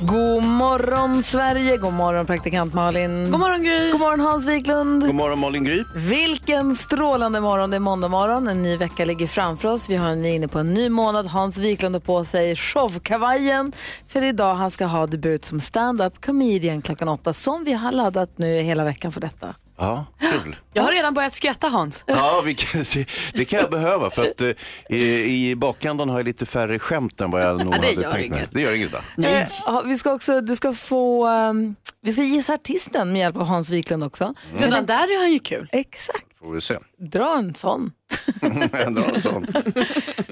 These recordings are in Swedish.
God morgon Sverige, god morgon praktikant Malin. God morgon Gry. God morgon Hans Wiklund. God morgon Malin Gry. Vilken strålande morgon, det är måndag morgon. En ny vecka ligger framför oss. Vi har en inne på en ny månad. Hans Wiklund har på sig showkavajen. För idag han ska ha debut som stand-up comedian klockan åtta. Som vi har laddat nu hela veckan för detta. Ja, kul. Jag har redan börjat skratta Hans. Ja, vi kan, det, det kan jag behöva för att eh, i, i bakändan har jag lite färre skämt än vad jag nog Ja, det hade gör tänkt mig. inget. Det gör inget. va? Eh, ja, vi ska också, du ska få, ehm, vi ska gissa artisten med hjälp av Hans Wiklund också. Redan Mm. där är han ju kul. Exakt, Får vi se. dra en sån. Jag drar en sån.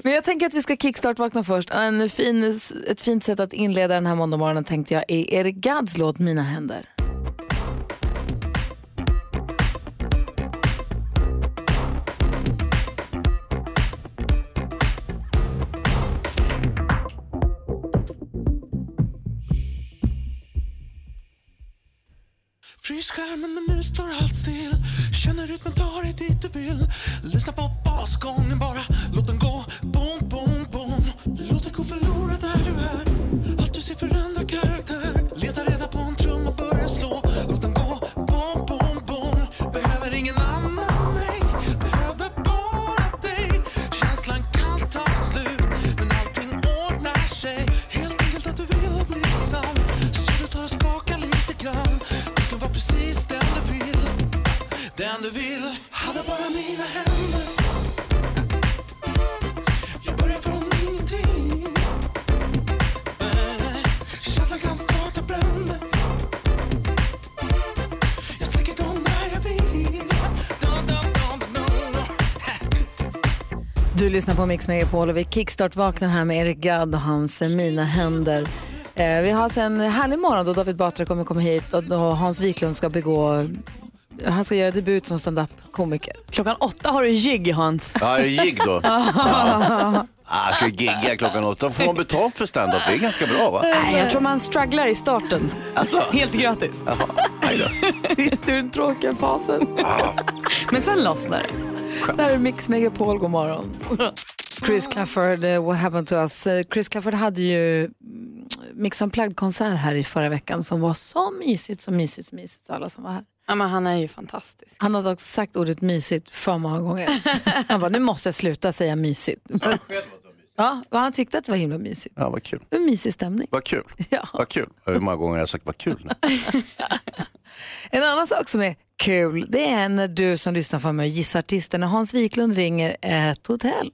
Men jag tänker att vi ska kickstart-vakna först. En fin, ett fint sätt att inleda den här måndagmorgonen tänkte jag är Eric Gads låt Mina händer. Frys skärmen men nu står allt still Känner ut men tar dig dit du vill Lyssna på basgången bara Låt den gå, boom, boom, boom Låt den gå förlora där du är Allt du ser förändrar karaktär Leta reda på en trumma, börja slå Låt den gå, boom, boom, boom Behöver ingen annan, nej Behöver bara dig Känslan kan ta slut Men allting ordnar sig Helt enkelt att du vill bli sann Så du tar och skakar lite grann Du kan vara precis den du vill Den du vill Hade bara mina händer Jag börjar från ingenting Eh, Känslan kan starta bränder Jag släcker dem när jag vill Dun, dun, dun, dun, dun, dun. Du lyssnar på Mix Megapol och vi kickstart-vaknar här med Eric Gadd och hans Mina händer. Eh, vi har alltså en härlig morgon då David Batra kommer komma hit och då Hans Wiklund ska begå han ska göra debut som standup-komiker. Klockan åtta har du jigg Hans. Ja, är det gig då? Ja. Ah, ska jag gigga klockan åtta? Får man betalt för stand-up? Det är ganska bra va? Nej, jag tror man strugglar i starten. Alltså, Helt gratis. aj då. Visst är den tråkiga fasen? Men sen lossnar det. Det här är Mix Megapol, god morgon. Chris Clafford, eh, What happened to us? Eh, Chris Clafford hade ju mm, Mix Unplugged-konsert här i förra veckan som var så mysigt, så mysigt, så mysigt för alla som var här. Ja, men han är ju fantastisk. Han hade också sagt ordet mysigt för många gånger. Han bara, nu måste jag sluta säga mysigt. Ja, och han tyckte att det var himla mysigt. Ja, vad kul. Det var en mysig stämning. Vad kul. Ja. Vad kul. Hur många gånger har jag sagt vad kul? nu? En annan sak som är kul, det är när du som lyssnar får mig att gissa artisten. När Hans Wiklund ringer ett hotell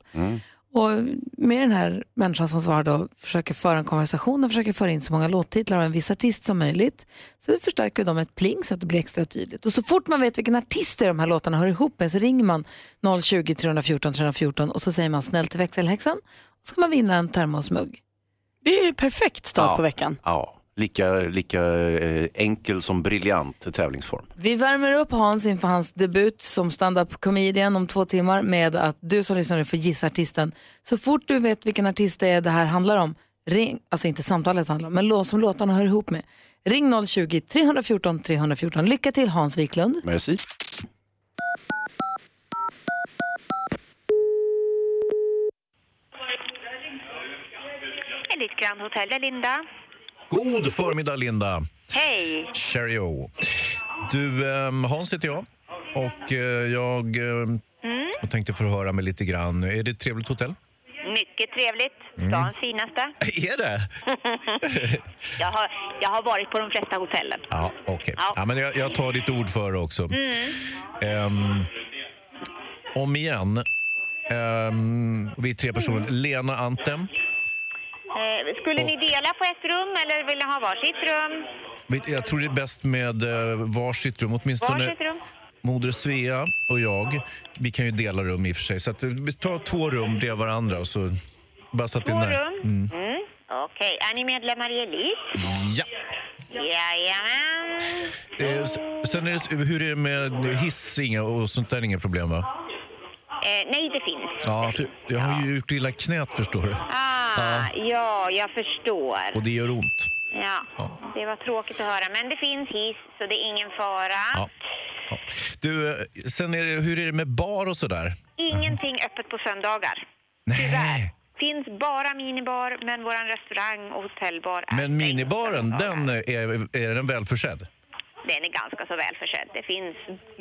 och med den här människan som svarar då försöker föra en konversation och försöker föra in så många låttitlar av en viss artist som möjligt. Så vi förstärker dem med ett pling så att det blir extra tydligt. Och så fort man vet vilken artist det är de här låtarna hör ihop med så ringer man 020 314 314 och så säger man snällt till växelhäxan och så kan man vinna en termosmugg. Det är ju perfekt start på veckan. Ja, lika, lika eh, enkel som briljant tävlingsform. Vi värmer upp Hans inför hans debut som stand-up comedian om två timmar med att du som lyssnar nu får gissa artisten. Så fort du vet vilken artist det är det här handlar om, ring, alltså inte samtalet handlar om, men låt som låtarna hör ihop med. Ring 020-314 314. Lycka till Hans Wiklund. Merci. Elit Grand Hotel, det är Linda. God förmiddag, Linda. Hej! Cheerio. Du, ehm, Hans heter jag och eh, jag ehm, Mm. jag tänkte förhöra mig lite grann. Är det ett trevligt hotell? Mycket trevligt. Stans finaste. Är det? Jag har, jag har varit på de flesta hotellen. Ja, okej. Ja. Mm. Ja, men jag, jag tar ditt ord för det också. Ehm, om igen. Ehm, vi är tre personer. Mm. Lena Antem. Eh, skulle ni dela på ett rum eller vill ni ha varsitt rum? Vi- Jag tror det är bäst med eh, varsitt rum. Åtminstone Varsitt rum? moder Svea och jag. Vi kan ju dela rum i och för sig. Så att, eh, vi tar två rum bredvid varandra. Och så, bara så att det är Två nära. rum? Mm. Okej, är ni medlemmar i Elit? Ja. Jajamän. Eh, s- sen är det, hur är det med hiss inga, och sånt där? Inga problem, va? Eh, nej, det finns. Ja, för jag har ju gjort illa knät, förstår du. Ah, ja, jag förstår. Och det gör ont. Ja, det var tråkigt att höra. Men det finns hiss, så det är ingen fara. Ja. Ja. Du, eh, sen är det, hur är det med bar och sådär? Ingenting öppet på söndagar. Nej. Finns bara minibar, men vår restaurang och hotellbar, är- Men minibaren, den är, är den välförsedd? den är ganska så välförsedd. Det finns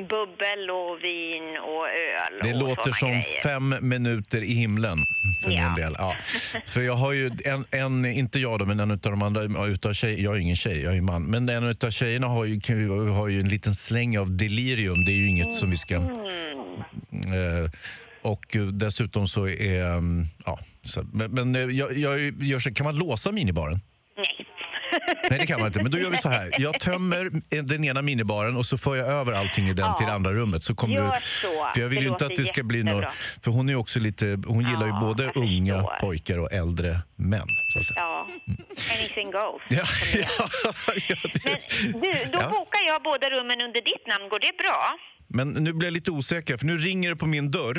bubbel och vin och öl. Det och låter såna som grejer. fem minuter i himlen för min del. Ja. För jag har ju en, en inte jag då, men en utav de andra, ja, utav tjej, jag är ingen tjej, jag är en man. Men en utav tjejerna har ju, kan ju- har ju en liten släng av delirium. Det är ju inget som vi ska... Mm. Eh, och dessutom så är... mm, Ja, så, men men eh, jag, jag gör så, kan man låsa minibaren? Nej. Nej, det kan man inte. Men då gör vi så här. Jag tömmer den ena minibaren och så för jag över allting i den till det andra rummet. Så kommer Gör du, så. För jag vill Det ju inte att låter det ska bli någon... jättebra. För hon är ju också lite... Hon gillar ju både unga pojkar och äldre män. Så att säga. Ja, anything goes. Ja, Du, då Ja. bokar jag båda rummen under ditt namn. Går det bra? Men nu blir jag lite osäker, för nu ringer det på min dörr.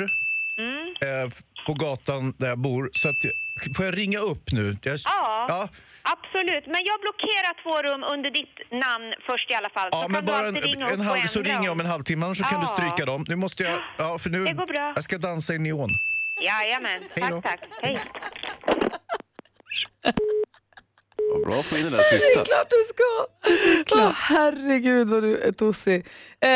Mm. Eh, på gatan där jag bor. Så att, jag- får jag ringa upp nu? Jag, Ja, ja. absolut. Men jag blockerar två rum under ditt namn först i alla fall. Ja, så men kan bara du en, alltid ringa en upp halv, och så ändra ringer jag om en halvtimme, annars så kan du Ja. stryka dem. Nu måste jag... Ja, för nu, Det går bra. Jag ska dansa i neon. Jajamän. Hej då. Tack, tack. Hej. Vad bra att få in den där Nej, det är sista. klart du ska! Åh, herregud vad du är tossig. Eh,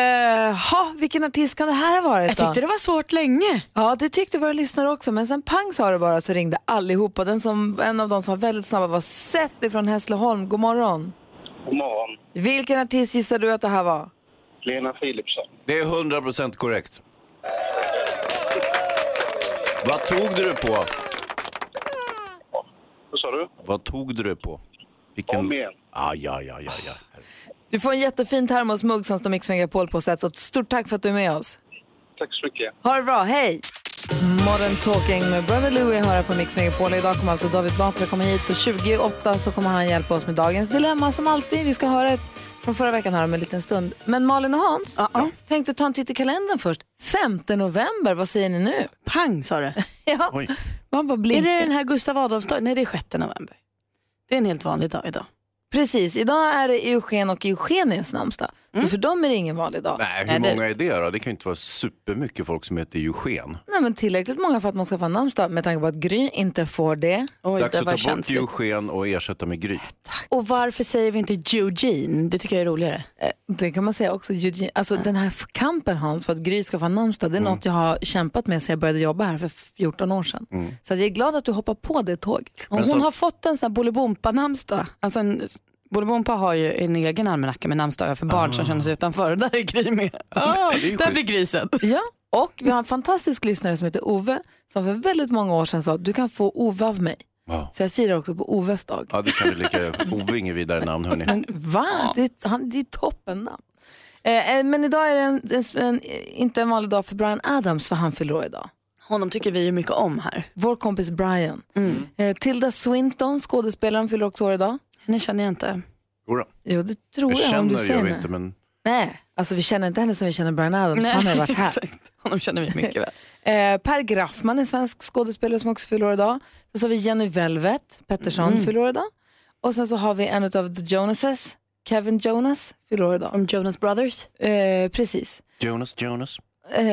ha, vilken artist kan det här ha varit Jag tyckte det var svårt länge. Ja, det tyckte våra lyssnare också, men sen pang sa det bara så ringde allihopa. Den som, en av de som var väldigt snabba var Seth från Hässleholm. God morgon. God morgon. Vilken artist gissar du att det här var? Lena Philipsson. Det är 100 procent korrekt. Vad tog du det på? Vad sa du? Vad tog du det på? Vilken... Om igen. Ah, ja, ja, ja, ja. Du får en jättefin termosmugg som står Mix Megapol på Seth. Och stort tack för att du är med oss. Tack så mycket. Ha det bra, hej! Modern Talking med Brother Louie hör här på Mix Megapol. Idag kommer alltså David Batra komma hit och 28 så kommer han hjälpa oss med dagens dilemma som alltid. Vi ska höra ett från förra veckan här om en liten stund. Men Malin och Hans tänkte ta en titt i kalendern först. 5 november, vad säger ni nu? Pang sa det. ja. Man bara Är blinkar. det den här Gustav Adolfsdagen? Nej, det är 6 november. Det är en helt vanlig dag idag. Precis, idag är det Eugen och Eugenias namnsdag. Mm. Så för dem är det ingen vanlig dag. Nej, Nej, hur det- många är det då? Det kan ju inte vara supermycket folk som heter Eugen. Nej, men tillräckligt många för att man ska få en namnsdag med tanke på att Gry inte får det. Dags att ta bort Eugen och ersätta med Gry. Och varför säger vi inte Eugene? Det tycker jag är roligare. Eh, Det kan man säga också. Eugene- Alltså den här f- kampen Hans för att Gry ska få en namnsdag, det Mm. är något jag har kämpat med sedan jag började jobba här för 14 år sedan. Mm. Så att jag är glad att du hoppar på det tåget. Och hon alltså- har fått en sån här Bolibompa-namnsdag. Alltså en, Bolibompa har ju en egen almanacka med namnsdagar för barn som känner sig utanför. Där är Gry med. Ah, det är ju Där schysst. blir Gry sedd. Ja, och vi har en fantastisk lyssnare som heter Ove som för väldigt många år sedan sa du kan få Ove av mig. Ja. Så jag firar också på Oves dag. Ja, det kan vi lika Ove inget vidare namn, hörni. Men va? Det, är- han, det är toppen namn. Eh, eh, men idag är det en, en, en, inte en vanlig dag för Brian Adams för han fyller år idag. Honom tycker vi ju mycket om här. Mm. Vår kompis Brian. Eh, Tilda Swinton, skådespelaren, fyller också år idag. Henne känner jag inte. Jodå. Jo, det tror jag, om känner du gör säger vi det. inte, men Nej, alltså vi känner inte henne som vi känner Brian Adams. Nej, han har ju varit här. exakt. Honom känner vi mycket väl. Eh, per Graffman, en svensk skådespelare som också fyller år idag. Sen så har vi Jenny Velvet Pettersson, Mm. fyller år idag. Och sen så har vi en av The Jonases, Kevin Jonas, fyller år idag. Från Jonas Brothers? Eh, precis. Jonas, Jonas. Eh,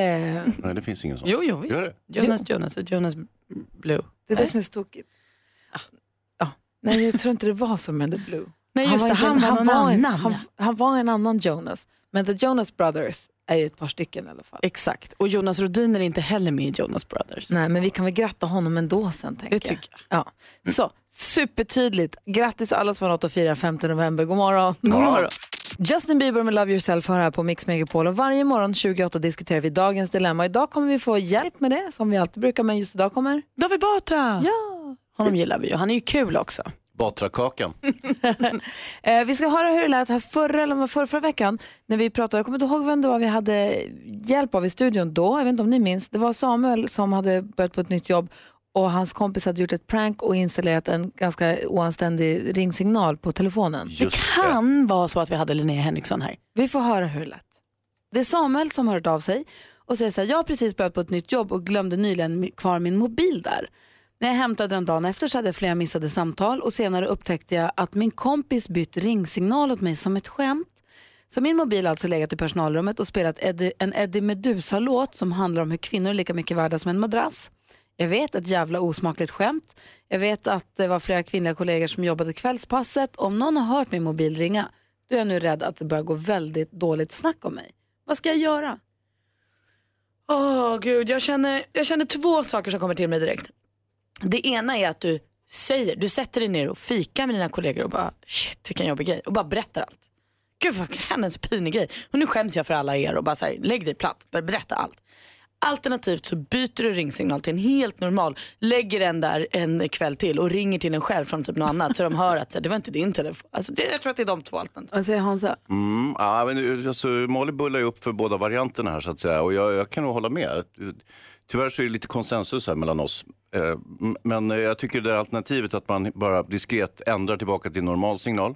Nej, det finns ingen sån. Jo, jo, visst. Gör det? Jonas, Jonas och Jonas Ah. Blue. det är det som är så tokigt. Ja. Nej, jag tror inte det var så med The Blue. Nej, just det, inte- han var någon en, annan. Han, han var en annan Jonas. Men The Jonas Brothers är ju ett par stycken i alla fall. Exakt, och Jonas Rodin är inte heller med i Jonas Brothers. Nej, men vi kan väl gratta honom ändå sen tänker Det tycker jag. Ja. Så, supertydligt. Grattis alla som har något att fira 5 november. God morgon. God morgon. Justin Bieber med Love Yourself hör här på Mix Megapol och varje morgon 28 diskuterar vi dagens dilemma. Idag kommer vi få hjälp med det som vi alltid brukar men just idag kommer... David Batra! Ja. Honom gillar vi ju, han är ju kul också. Batrakakan. Eh, vi ska höra hur det lät här förra, eller förra, förra veckan när vi pratade, jag kommer inte ihåg vem det var vi hade hjälp av i studion då, jag vet inte om ni minns, det var Samuel som hade börjat på ett nytt jobb och hans kompis hade gjort ett prank och installerat en ganska oanständig ringsignal på telefonen. det kan vara så att vi hade Linnea Henriksson här. Vi får höra hur det lät. Det är Samuel som har hört av sig och säger så här, jag har precis börjat på ett nytt jobb och glömde nyligen mi- kvar min mobil där. När jag hämtade den dagen efter så hade jag flera missade samtal och senare upptäckte jag att min kompis bytt ringsignal åt mig som ett skämt. Så min mobil har alltså legat i personalrummet och spelat Eddie, en Eddie Meduza-låt som handlar om hur kvinnor är lika mycket värda som en madrass. Jag vet ett jävla osmakligt skämt. Jag vet att det var flera kvinnliga kollegor som jobbade kvällspasset. Om någon har hört min mobil ringa, då är jag nu rädd att det börjar gå väldigt dåligt snack om mig. Vad ska jag göra? Åh gud, jag känner, jag känner två saker som kommer till mig direkt. Det ena är att du säger, du sätter dig ner och fikar med dina kollegor och bara shit vilken jobbig grej och bara berättar allt. Gud vad hände en så pinig grej och nu skäms jag för alla er och bara så här, lägg dig platt, bara berätta allt. Alternativt så byter du ringsignal till en helt normal, lägger den där en kväll till och ringer till en själv från typ något annat så de hör att så här, det var inte din telefon. Alltså, det, jag tror att det är de två alternativen. Vad säger Hansa? Mm, ja, men, eh, alltså, Molly bullar ju upp för båda varianterna här så att säga och jag, jag kan nog hålla med. Tyvärr så är det lite konsensus här mellan oss. Eh, m- Men eh, jag tycker det där alternativet att man bara diskret ändrar tillbaka till normal signal.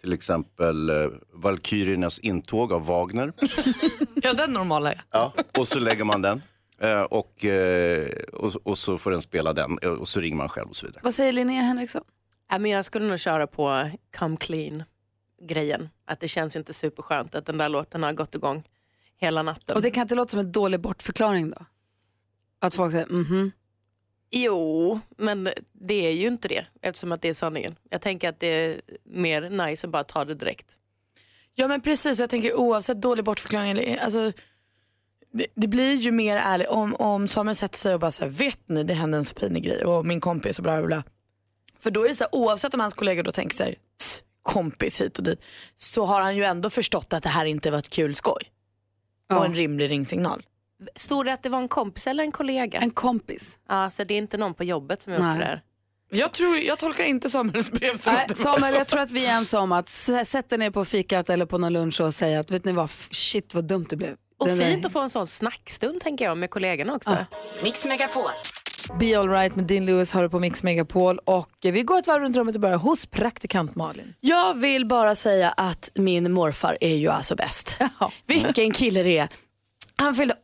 Till exempel eh, Valkyriernas intåg av Wagner. Ja den normala är. Ja, och så lägger man den. Eh, Och, eh, och, och så får den spela den eh, och så ringer man själv och så vidare. Vad säger Linnea Henriksson? Ja, men jag skulle nog köra på come clean-grejen. Att det känns inte superskönt att den där låten har gått igång hela natten. Och det kan inte låta som en dålig bortförklaring då? Att folk säger mhm. Jo, men det är ju inte det eftersom att det är sanningen. Jag tänker att det är mer nice att bara ta det direkt. Ja men precis, och jag tänker oavsett dålig bortförklaring eller alltså det, det blir ju mer ärligt om, om Samuel sätter sig och bara säger vet ni det hände en så pinig grej och min kompis och bla bla bla. För då är det så här, oavsett om hans kollegor då tänker sig kompis hit och dit så har han ju ändå förstått att det här inte var ett kul skoj. Och en rimlig ringsignal. Stod det att det var en kompis eller en kollega? En kompis. Ja, så det är inte någon på jobbet som är Nej. uppe där. Jag, tror, jag tolkar inte Samuels brev som Nej, att det var Samuel, så. jag tror att vi är ensamma om att s- sätta ner på fikat eller på någon lunch och säga att vet ni vad, F- shit vad dumt det blev. Och Den fint där- att få en sån snackstund tänker jag med kollegorna också. Mix Megapol. Be alright med Dean Lewis har du på Mix Megapol och eh, vi går ett varv runt rummet och börjar hos praktikant Malin. Jag vill bara säga att min morfar är ju alltså bäst. Vilken kille det är. Han fyllde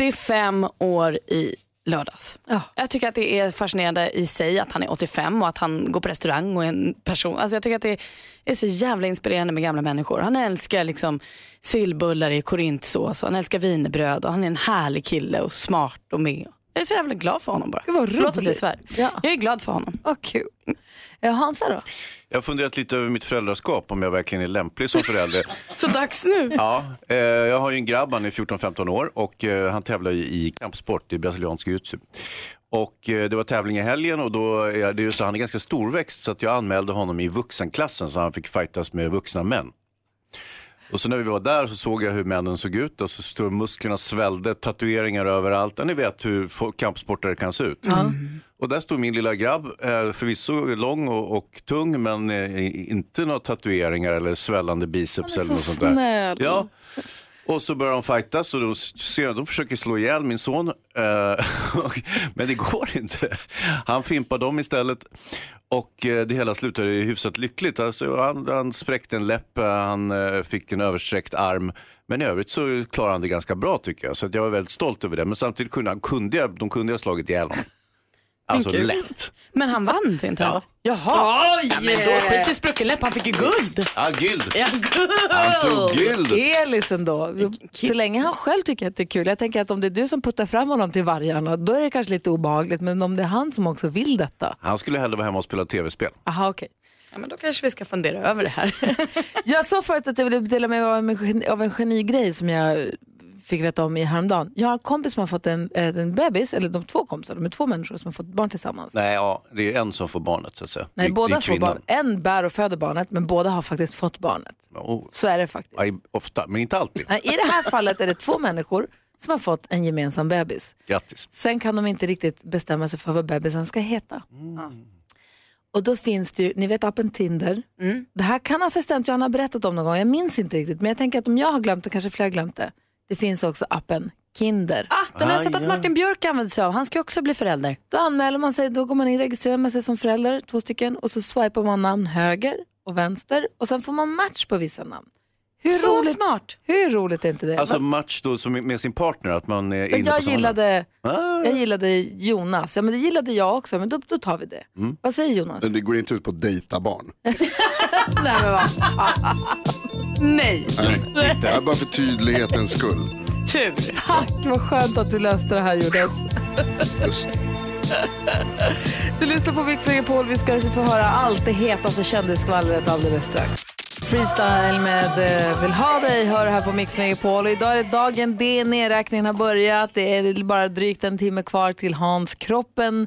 85 år i lördags. Jag tycker att det är fascinerande i sig att han är 85 och att han går på restaurang och är en person. Alltså jag tycker att det är så jävla inspirerande med gamla människor. Han älskar liksom sillbullar i korintsås och han älskar wienerbröd och han är en härlig kille och smart och med. Jag är så jävla glad för honom bara. Gud, vad Förlåt att jag roligt. svär. Jag är glad för honom. Vad kul. Eh, Hansa då? Jag har funderat lite över mitt föräldraskap, om jag verkligen är lämplig som förälder. Så dags nu. Ja, eh, jag har ju en grabb, han är 14-15 år och eh, han tävlar ju i kampsport i brasiliansk jiu-jitsu. Och eh, det var tävling i helgen och då är det ju så, han är ganska storväxt så att jag anmälde honom i vuxenklassen så han fick fightas med vuxna män. Och så när vi var där så såg jag hur männen såg ut och så stod musklerna svällde, tatueringar överallt. Ja, ni vet hur fo- kampsportare kan se ut. Och där stod min lilla grabb, eh, förvisso lång och, och tung men eh, inte några tatueringar eller svällande biceps eller så något sånt där. snäll. Ja. Och så börjar de fightas och de, ser, jag- de försöker slå ihjäl min son. Eh, och, men det går inte. Han fimpar dem istället. Och eh, det hela slutade ju hyfsat lyckligt. Alltså, han, han spräckte en läpp, eh, han eh, fick en översträckt arm. Men i övrigt så klarade han det ganska bra tycker jag. Så att jag var väldigt stolt över det. Men samtidigt kunde, han, kunde jag, de kunde jag ha slagit ihjäl honom. Alltså Men gud. lätt. Men han vann inte ja. Jaha. Jaha. Oj! men då skit i sprucken läpp, han fick ju guld. Ja, guld. Ja, guld. Han tog guld. Elis ändå. Så länge han själv tycker att det är kul. Jag tänker att om det är du som puttar fram honom till vargarna, då är det kanske lite obehagligt. Men om det är han som också vill detta. Han skulle hellre vara hemma och spela tv-spel. Aha, okej. Ja, men då kanske vi ska fundera över det här. Jag sa förut att jag ville dela med mig av en, gen- av en genigrej som jag fick veta om i häromdagen. Jag har en kompis som har fått en, eh, en bebis, eller de två kompisar, de är två människor som har fått barn tillsammans. Nej, ja, det är en som får barnet så att säga. Nej, det, det båda är får kvinnan. barn. En bär och föder barnet, men båda har faktiskt fått barnet. Oh. Så är det faktiskt. Ja, i- ofta, men inte alltid. Nej, I det här fallet är det två människor som har fått en gemensam bebis. Grattis. Sen kan de inte riktigt bestämma sig för vad bebisen ska heta. Och då finns det ju, ni vet appen Tinder. Mm. Det här kan assistent Johanna ha berättat om någon gång, jag minns inte riktigt. Men jag tänker att om jag har glömt det kanske fler har glömt det. Det finns också appen Kinder. Ah, den har jag sett att Martin Björk använder sig av. Han ska också bli förälder. Då anmäler man sig, då går man in, registrerar man sig som förälder, två stycken, och så swipar man namn höger och vänster och sen får man match på vissa namn. Hur Så roligt, smart! Hur roligt är inte det? Alltså Eh, Va- match då som med sin partner, att man är men inne Eh, på jag, samma gillade, Ah. jag gillade Jonas, ja men det gillade jag också, men då, då tar vi det. Mm. Vad säger Jonas? Men Det går inte ut på att dejta barn. Nej, men vad fan. Nej. Nej, det är bara för tydlighetens skull. Tur. Tack, vad skönt att du löste det här Jonas. Du lyssnar på Mix Megapol. Vi ska alltså få höra allt det hetaste kändisskvallret alldeles strax. Freestyle med eh, Vill ha dig hör här på Mix Megapol. Och idag är det dagen D, nedräkningen har börjat. Det är bara drygt en timme kvar till Hans Kroppen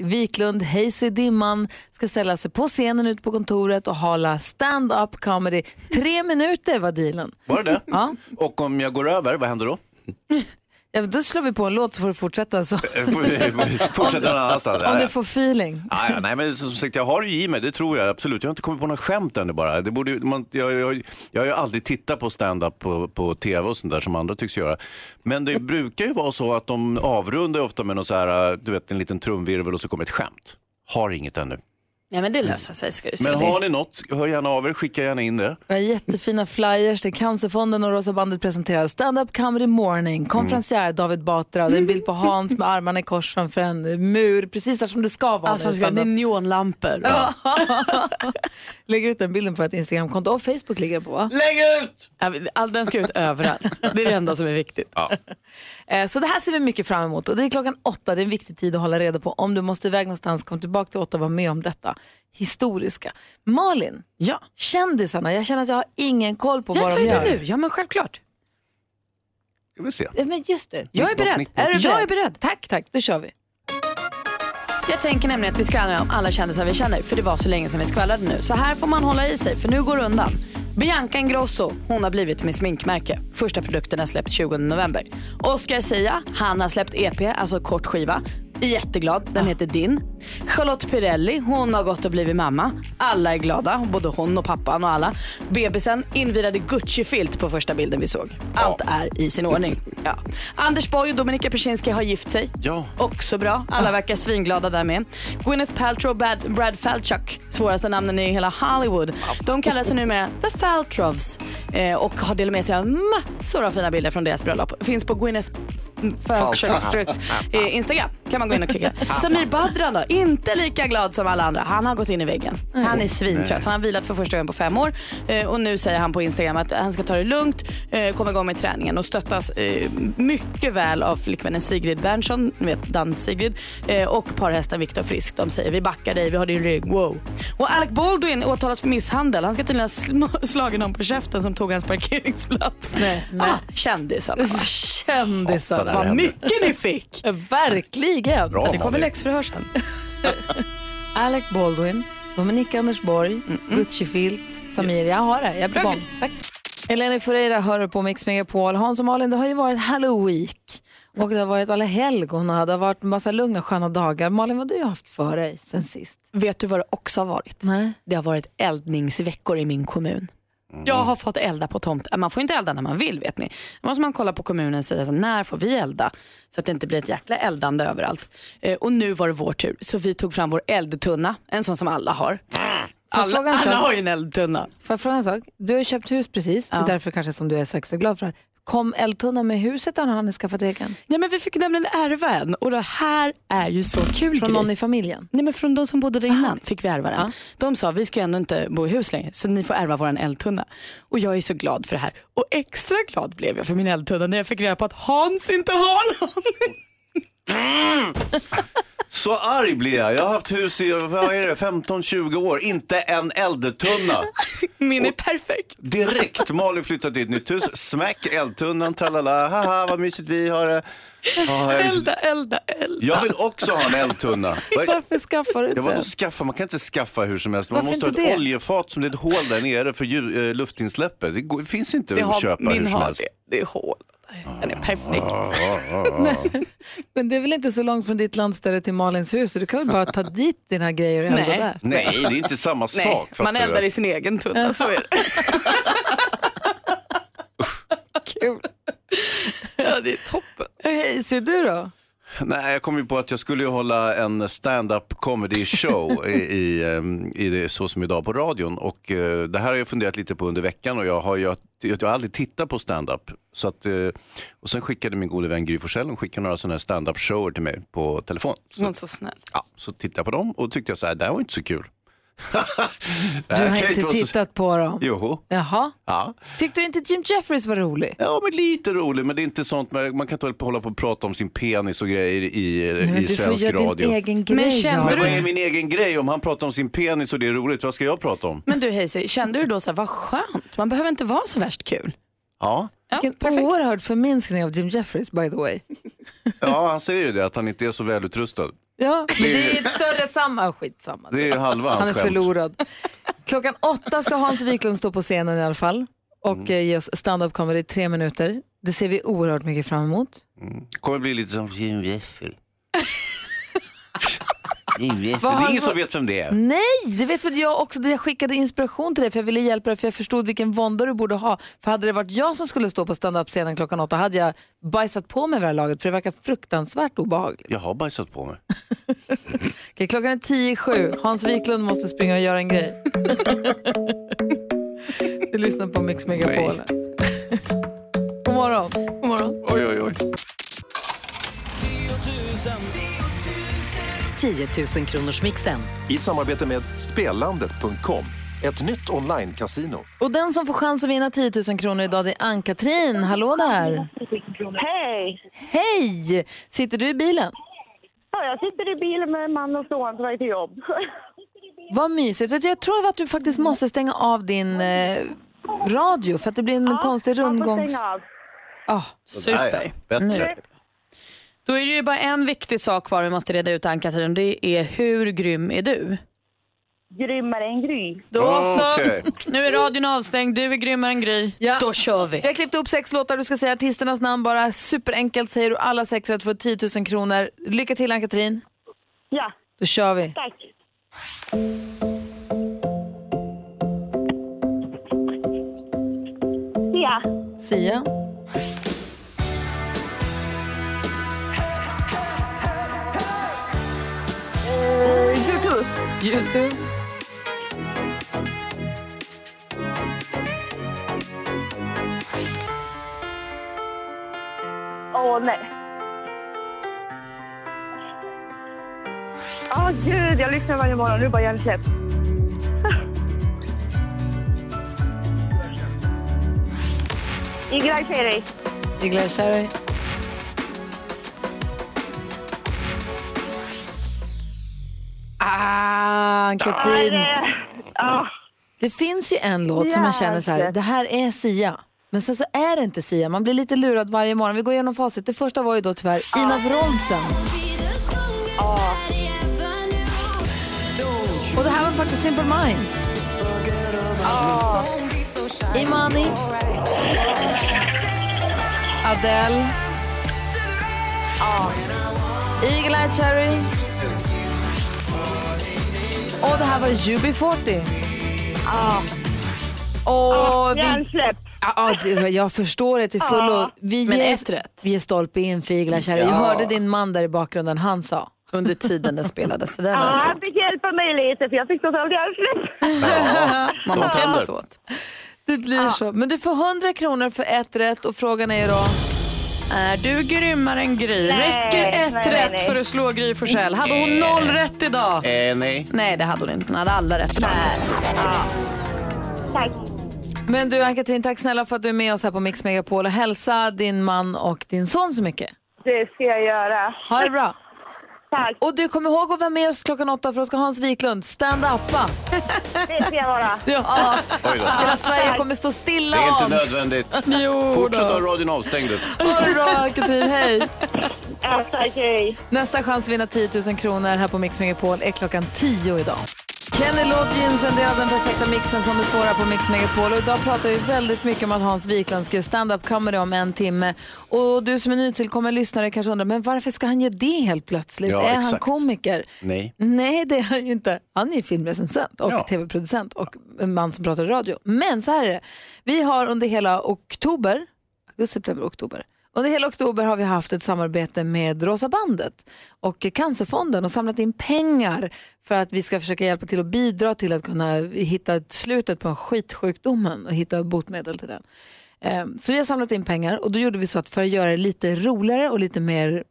Wiklund, Hayes i dimman, ska ställa sig på scenen ute på kontoret och hålla stand-up comedy. Tre minuter var dealen. Var det det? Ja. Och om jag går över, vad händer då? Ja, men då slår vi på en låt så får du fortsätta Eh, så. Fortsätter någon annanstans? Om du får feeling. Ah, Ja, ja, nej, men som sagt, jag har ju i mig, det tror jag absolut. Jag har inte kommit på några skämt ännu bara. Det borde, ju- man, jag, jag, jag har ju aldrig tittat på stand-up på, på tv och sånt där som andra tycks göra. Men det brukar ju vara så att de avrundar ju ofta med någon så här, du vet, en liten trumvirvel och så kommer ett skämt. Har inget ännu. Eh, Nej men det löser sig ska du se. Mm. Men Det- har ni något, hör gärna av er, skicka gärna in det. Vi har jättefina flyers där Cancerfonden och Rosa bandet presenterar stand-up comedy Mm. morning, konferencier David Batra, det är en bild på Hans med armarna i kors framför en mur, precis där som det ska vara. Alltså, när det ska- det är stand-up. neonlampor. Ja. Lägger ut den bilden på ett Instagramkonto och Facebook ligger den på va? Lägg ut! All den ska ut överallt. Det är det enda som är viktigt. Eh, Så det här ser vi mycket fram emot och det är klockan åtta, det är en viktig tid att hålla reda på. Om du måste iväg någonstans, kom tillbaka till åtta och var med om detta historiska. Malin, ja. kändisarna, jag känner att jag har ingen koll på Jag vad sa de ju gör. det nu, ja men självklart. Ska vi se. Ja, Men just det. Jag är beredd. Är du Jag är beredd. Tack, tack. Då kör vi. Jag tänker nämligen att vi skvallrar om alla kändisar vi känner för det var så länge sedan vi skvallrade nu. Så här får man hålla i sig för nu går det undan. Bianca Ingrosso, hon har blivit med sminkmärke. Första produkterna släpps 20 november. Oscar Sia, han har släppt EP, alltså kort skiva. Jätteglad, den heter Din. Charlotte Pirelli, hon har gått och blivit mamma. Alla är glada, både hon och pappan och alla. Bebisen invirade Gucci-filt på första bilden vi såg. Allt är i sin ordning. Ja. Anders Borg och Dominika Persinski har gift sig. Ja. Också bra. Alla verkar svinglada där med. Gwyneth Paltrow och Brad, Brad Falchuk, svåraste namnen i hela Hollywood. De kallar sig numera The Faltrows eh, och har delat med sig av massor av fina bilder från deras bröllop. Finns på Gwyneth Faltrows eh, Instagram. Kan man gå in och klicka. Samir Badran då, inte lika glad som alla andra. Han har gått in i väggen. Han är svintrött. Han har vilat för första gången på fem år eh, och nu säger han på Instagram att han ska ta det lugnt, eh, komma igång med träningen och stöttas eh, mycket väl av flickvännen Sigrid Bernson, ni vet dans-Sigrid, eh, och parhästen Viktor Frisk. De säger vi backar dig, vi har din rygg, wow. Och Alec Baldwin åtalas för misshandel. Han ska tydligen ha sm- slagit någon på käften som tog hans parkeringsplats. Nej, nej. Ah, kändisarna. Kändisar. Vad mycket ni fick! Verkligen. Bra, Ja, det kommer Malin. läxförhör sen. Alec Baldwin, Dominika Andersborg, Mm, Gucci-filt, Samir. Jag har det. Jag blir igång. Tack. Eleni Foureira hör du på Mix Megapol. Hans och Malin, det har ju varit Halloween och det har varit alla helgon och det har varit en massa lugna sköna dagar. Malin, vad har du haft för dig sen sist? Vet du vad det också har varit? Nej. Det har varit eldningsveckor i min kommun. Jag har fått elda på tomten. Man får inte elda när man vill vet ni. Då måste man kolla på kommunens sida, så när får vi elda? Så att det inte blir ett jäkla eldande överallt. Eh, och nu var det vår tur, så vi tog fram vår eldtunna. En sån som alla har. Alla, fråga en sak? alla har ju en eldtunna. Får jag fråga en sak? Du har ju köpt hus precis, det är därför kanske som du är så extra glad för. det här. Kom eldtunnan med huset eller har ni skaffat egen? Ja, men vi fick nämligen ärva en och det här är ju så kul Från grej. någon i familjen? Nej men från de som bodde där innan fick vi ärva den. De sa vi ska ju ändå inte bo i hus längre så ni får ärva våran eldtunna. Och jag är så glad för det här. Och extra glad blev jag för min eldtunna när jag fick reda på att Hans inte har någon. Så arg blir jag. Jag har haft hus i vad är det, 15-20 år, inte en eldtunna. Min är perfekt. Direkt, Malin flyttat till ett nytt hus, smack eldtunnan, tralala, haha vad mysigt vi har det. Ja, jag- Elda, elda, elda. Jag vill också ha en eldtunna. Varför skaffar du Ja, inte? vadå skaffa? Man kan inte skaffa hur som helst. Man Varför måste ha inte ett det? oljefat som det är ett hål där nere för ljud, eh, luftinsläppet. Det, går, det finns inte Det att har- köpa min hur som har helst. Ah, Det är hål. Den är perfekt. Men det är väl inte så långt från ditt landställe till Malins hus så du kan väl bara ta dit dina grejer och elda Nej. där? Nej, det är inte samma Nej, sak. fattar man du? eldar i sin egen tunna, så är det. Kul. det är toppen. Hej, ser du då? Nej, jag kom ju på att jag skulle ju hålla en stand-up comedy show i, i, ehm, i det, så som idag på radion. Och eh, det här har jag funderat lite på under veckan och jag har, jag, jag har aldrig tittat på stand-up. Så att, eh, och sen skickade min gode vän Gry Forssell, hon skickade några sådana här stand-up shower till mig på telefon. Hon är så snäll. Ja, så tittade jag på dem och tyckte jag så här, det här var inte så kul. Det Du här har kan ju inte vara så- tittat på dem. Joho. Jaha. Ja. Tyckte du inte Jim Jeffries var rolig? Ja, men lite rolig, men det är inte sånt, man man kan inte hålla på- hålla på och prata om sin penis och grejer i, i du får svensk göra din radio. egen grej, Men kände men Jan. du- vad är min egen grej? Om han pratar om sin penis och det är roligt, vad ska jag prata om? Men du Hayes, kände du då så här, vad skönt, man behöver inte vara så värst kul. Ja. Vilken oerhörd förminskning av Jim Jeffries by the way. ja, han säger ju det, att han inte är så välutrustad. Ja, men Det är- det är ju ett större samma skitsamma. Det är ju halva hans Han är skämt. förlorad. Klockan åtta ska Hans Wiklund stå på scenen i alla fall och Mm. eh, ge oss stand-up comedy i tre minuter. Det ser vi oerhört mycket fram emot. kommer bli lite som Jim Jeffel. Jim Jeffel. Det Vad Mm. har är han ingen för- som vet vem det är. Nej, det vet väl jag också. Jag skickade inspiration till dig för jag ville hjälpa dig för jag förstod vilken vånda du borde ha. För hade det varit jag som skulle stå på stand-up-scenen klockan åtta hade jag bajsat på mig vid det här laget för det verkar fruktansvärt obehagligt. Jag har bajsat på mig. Okej, klockan är tio i sju. Hans Wiklund måste springa och göra en grej. du lyssnar på Mix Megapol. God morgon. God morgon. Oj, oj, oj. 10 000 kronors mixen. I samarbete med Spelandet.com, ett nytt online-casino. Och den som får chans att vinna 10 000 kronor idag det är Ann-Katrin. Hallå där. Hej! Hej! Sitter du i bilen? Ja, jag sitter i bilen med man och son på väg till jobb. Vad mysigt. Vet du, Jag tror att du faktiskt måste stänga av din eh, radio för att det blir en Man konstig får rundgång. stänga av. Ah, Super. Bättre. Nu. Då är det ju bara en viktig sak kvar vi måste reda ut Ann-Katrin och det är hur grym är du? Grymmare än Gry. Då Ah, så, Okej. nu är radion avstängd, du är grymmare än Gry. Då kör vi. Vi har klippt upp sex låtar, du ska säga artisternas namn bara. Superenkelt säger du alla sex rätt för 10 000 kronor. Lycka till Ann-Katrin. Ja. Då kör vi. Tack. Sia. Sia. Youtube. Youtube. Åh, nej. Åh, gud. Jag lyssnar varje morgon. Nu bara hjärnsläpp. Igla Cherry. Igla Cherry. Ah, Ann-Katrin. Det finns ju en låt som man känner så här, Jäklar. det här är Sia. Men sen så är det inte Sia, man blir lite lurad varje morgon. Vi går igenom facit. Det första var ju då tyvärr Ina Wroldsen. Och det här var faktiskt Simple Minds. Imani. Adele. Eagle Eye Cherry. Och det här var UB40. Och vi... Hjärnsläpp. Ja, ja, det- jag förstår det till fullo. Ja. Vi Men ger- ett rätt. Vi är stolpe in för Eagle Eye Cherry. Jag Ja. hörde din man där i bakgrunden, han sa. Under tiden den spelades, så där Ja, han fick hjälpa mig lite, för jag fick totalt hjärnsläpp. Man måste hjälpas åt. Det blir så. Men du får 100 kronor för ett rätt och frågan är ju då... Är du grymmare än Gry? Nej, Räcker ett nej, rätt nej. för att slå Gry Forssell? Hade hon Eh. noll rätt idag? Eh, nej. Nej, det hade hon inte. Hon hade alla rätt idag. Tack. Men du Ann-Katrin, tack snälla för att du är med oss här på Mix Megapol och hälsa din man och din son så mycket. Det ska jag göra. Ha det bra. Tack. Och du kommer ihåg att vara med oss klockan åtta för då ska Hans Wiklund stand-uppa. Det ska jag vara. Ja. Oj då. Hela Sverige kommer stå stilla Det är av. inte nödvändigt. Jo Fortsätt då. ha radion avstängd. du. Ha det bra Katrin, hej. Nästa chans att vinna 10 000 kronor här på Mix Megapol är klockan 10 idag. Kenny Loggins, en del av den perfekta mixen som du får här på Mix Megapol. Och idag pratar vi väldigt mycket om att Hans Wiklund ska göra stand-up comedy om en timme. Och du som är nytillkommen lyssnare kanske undrar, men varför ska han göra det helt plötsligt? Ja, är han exakt. komiker? Nej. Nej, det är han ju inte. Han är ju filmrecensent och tv-producent och en man som pratar i radio. Men så här är det. Vi har under hela oktober, augusti, september, oktober Under hela oktober har vi haft ett samarbete med Rosa bandet och Cancerfonden och samlat in pengar för att vi ska försöka hjälpa till och bidra till att kunna hitta slutet på skitsjukdomen och hitta botemedel till den. Eh, Så vi har samlat in pengar och då gjorde vi så att för att göra det lite roligare och lite mer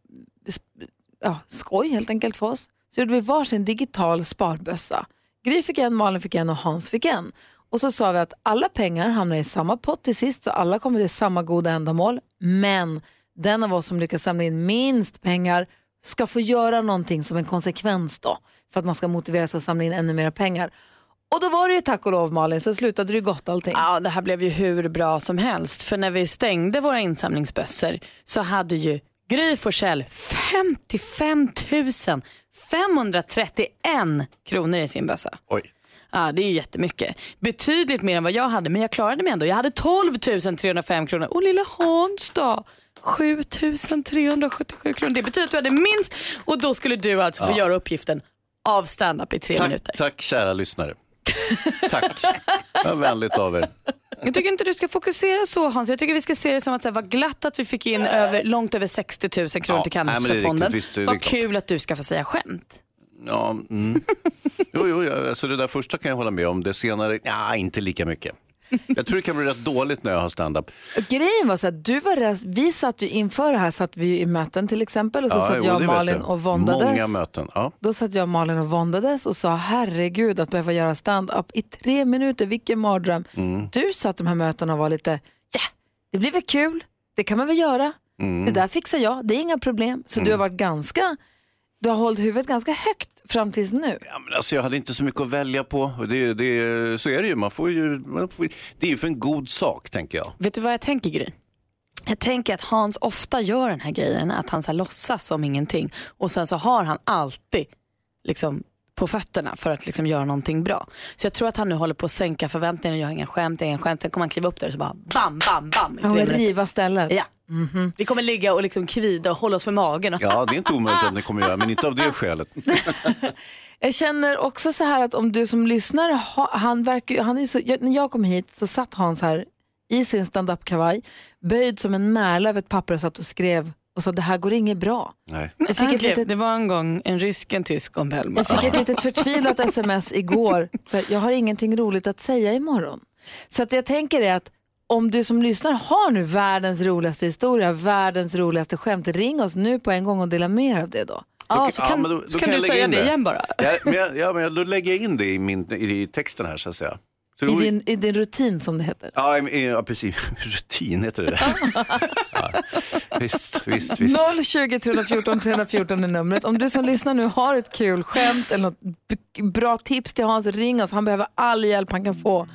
sp- ja, skoj helt enkelt för oss så gjorde vi varsin digital sparbössa. Gry fick en, Malin fick en och Hans fick en. Och så sa vi att alla pengar hamnar i samma pott till sist så alla kommer till samma goda ändamål. Men den av oss som lyckas samla in minst pengar ska få göra någonting som en konsekvens då för att man ska motivera sig att samla in ännu mer pengar. Och då var det ju tack och lov Malin så slutade det ju gott allting. Ja, det här blev ju hur bra som helst. För när vi stängde våra insamlingsbössor så hade ju Gry Forssell 55 531 kronor i sin bössa. Oj. Ja, det är ju jättemycket. Betydligt mer än vad jag hade, men jag klarade mig ändå. Jag hade 12 305 kronor. Och lilla Hans då? 7 377 kronor. Det betyder att du hade minst och då skulle du alltså få Ja. göra uppgiften av stand-up i tre tack, minuter. tack kära lyssnare. Tack. Vad vänligt av er. Jag tycker inte du ska fokusera så Hans. Jag tycker vi ska se det som att så här, vad glatt att vi fick in över, långt över 60 000 kronor till nej, men det är riktigt. Cancerfonden. Visst, det är vad riktigt. kul att du ska få säga skämt. Ja, mm. Jo, jo, ja, alltså det där första kan jag hålla med om. Det senare, ja, inte lika mycket. Jag tror det kan bli rätt dåligt när jag har stand-up. Och Grejen var så att du var res- vi satt ju inför det här satt vi i möten till exempel och så ja, satt jo, jag det och vet Malin och våndades. Många möten. Ja. Då satt jag och Malin och våndades och sa herregud att behöva göra stand-up i tre minuter, vilken mardröm. Mm. Du satt de här mötena och var lite, ja, det blir väl kul, det kan man väl göra, Mm. det där fixar jag, det är inga problem. Så du har varit ganska, du har hållit huvudet ganska högt fram tills nu. Men alltså, jag hade inte så mycket att välja på. Och Det, det, så är det ju. Man får ju man får, det är ju för en god sak, tänker jag. Vet du vad jag tänker Gry? Jag tänker att Hans ofta gör den här grejen att han så här låtsas som ingenting och sen så har han alltid liksom på fötterna för att liksom göra någonting bra. Så jag tror att han nu håller på att sänka förväntningarna. Jag har inga skämt, jag har inga skämt. Sen kommer han kliva upp där och så bara bam, bam, bam. i Han tre vill minuter. riva stället. Mm. Ja. Vi kommer ligga och liksom kvida och hålla oss för magen. Ja, det är inte omöjligt att ni kommer göra, men inte av det skälet. Jag känner också så här att om du som lyssnare, ha- han verkar ju- han är ju så, jag, när jag kom hit så satt Hans här i sin stand-up kavaj, böjd som en märla över ett papper och satt och skrev och sa det här går inget bra. Nej. Jag fick ett Okej, litet- Ah, Det var en gång en rysk, en tysk och en Belma. Jag fick ett litet förtvivlat sms igår, så här, jag har ingenting roligt att säga imorgon. Så att jag tänker är att om du som lyssnar har nu världens roligaste historia, världens roligaste skämt, ring oss nu på en gång och dela med er av det då. Då- men då- då jag lägga in Ja, men jag, ja, men jag, då lägger jag in det i, min, i texten här, så att säga. Så I då- din, I din rutin som det heter. Ja, i- i- ja, precis. Rutin heter det där. ja. Visst, visst, visst. 020 314 314 är numret. Om du som lyssnar nu har ett kul skämt eller något b- bra tips till Hans, ring oss. Han behöver all hjälp han kan få.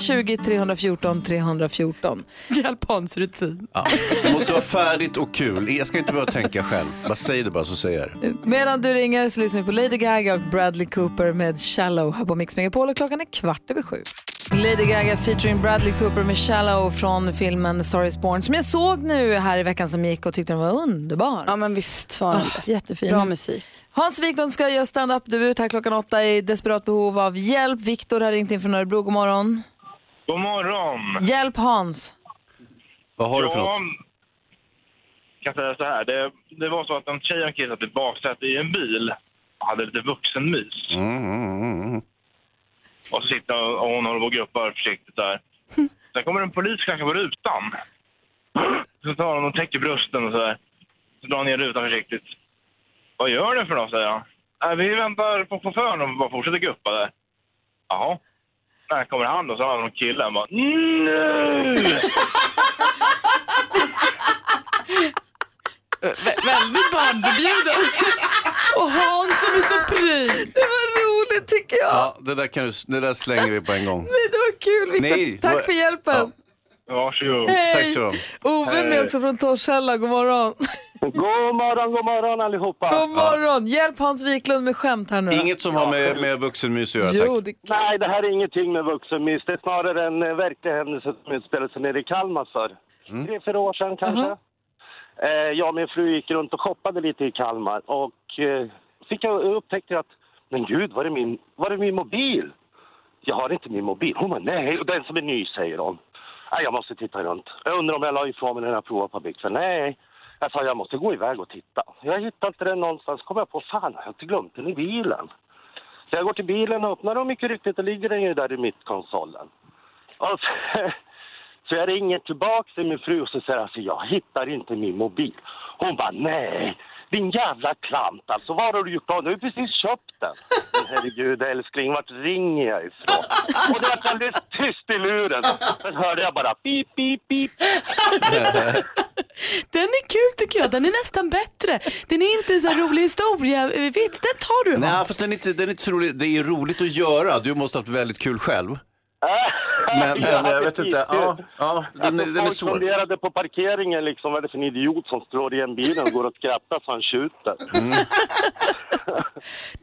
020 314 314. Hjälp Hans rutin. Ja. Det måste vara färdigt och kul. Jag ska inte behöva tänka själv. Bara säg det bara så säger jag det. Medan du ringer så lyssnar vi på Lady Gaga och Bradley Cooper med Shallow här på Mix Megapol och klockan är kvart över sju. Lady Gaga featuring Bradley Cooper med Shallow från filmen Star is Born som jag såg nu här i veckan som gick och tyckte den var underbar. Ah, Ja men visst var den det. Jättefin. Bra musik. Hans Wiklund ska göra stand-up-debut här klockan åtta i desperat behov av hjälp. Viktor har ringt in från Örebro. God morgon. God morgon! Hjälp Hans. Vad har du för något? Jag kan säga så här. Det, det var så att en tjej och en kille satt i baksätet i en bil och hade lite vuxenmys. Och så sitter hon- och hon håller på och guppar försiktigt där. Sen kommer en polis och knackar på rutan. Så tar hon och täcker brösten och så där. Så drar hon ner rutan försiktigt. Vad gör du för något? säger jag. "Äh, Vi väntar på chauffören och bara fortsätter guppa där. Jaha. När kommer han då? Så har han någon kille. Han bara nu! Vä- väldigt barnförbjuden. Och Hans som är så pryd. Det var roligt tycker jag. Ja, det där, kan du, det där slänger vi på en gång. Nej, det var kul Viktor. Nej, Tack det var- för hjälpen. Varsågod. Hej. Tack så mycket. Ove är med också från Torshälla. God morgon. God morgon, god morgon allihopa. God morgon. Hjälp Hans Wiklund med skämt här nu. Inget som har med, med vuxenmys att göra, tack. Jo, det... Nej, det här är ingenting med vuxenmys. Det är snarare en eh, verklig händelse som utspelade sig nere i Kalmar för tre, fyra år sedan kanske. Eh, jag och min fru gick runt och shoppade lite i Kalmar och eh, fick jag upptäckte att men gud, var är, min, var är min mobil? Jag har inte min mobil. Hon bara, nej, och den som är ny, säger hon. Nej, jag måste titta runt. Jag undrar om jag la ifrån mig den jag provade på byxor. Nej, jag sa jag måste gå iväg och titta. Jag hittade inte den någonstans. kom jag på, fan, jag har inte glömt den i bilen. Så jag går till bilen och öppnar och mycket riktigt, då ligger den ju där i mittkonsolen. Och så, så jag ringer tillbaka till min fru och så säger jag, alltså, jag hittar inte min mobil. Hon bara, nej, din jävla klant alltså, vad har du gjort av den? Du har ju precis köpt den. Men herregud älskling, vart ringer jag ifrån? Och det var alldeles tyst i luren. Sen hörde jag bara pip, pip, pip. Den är kul tycker jag, den är nästan bättre. Den är inte en sån här rolig historia, eh, vits, den tar du Nej, Hans. fast den är, inte, den är inte så rolig. Det är roligt att göra. Du måste ha haft väldigt kul själv. Men, men jag vet inte. Ja, ja, den, är- Alltså, den är folk svår. funderade på parkeringen liksom, vad är det för en idiot som står i en bil och går och skrattar så han tjuter. Mm.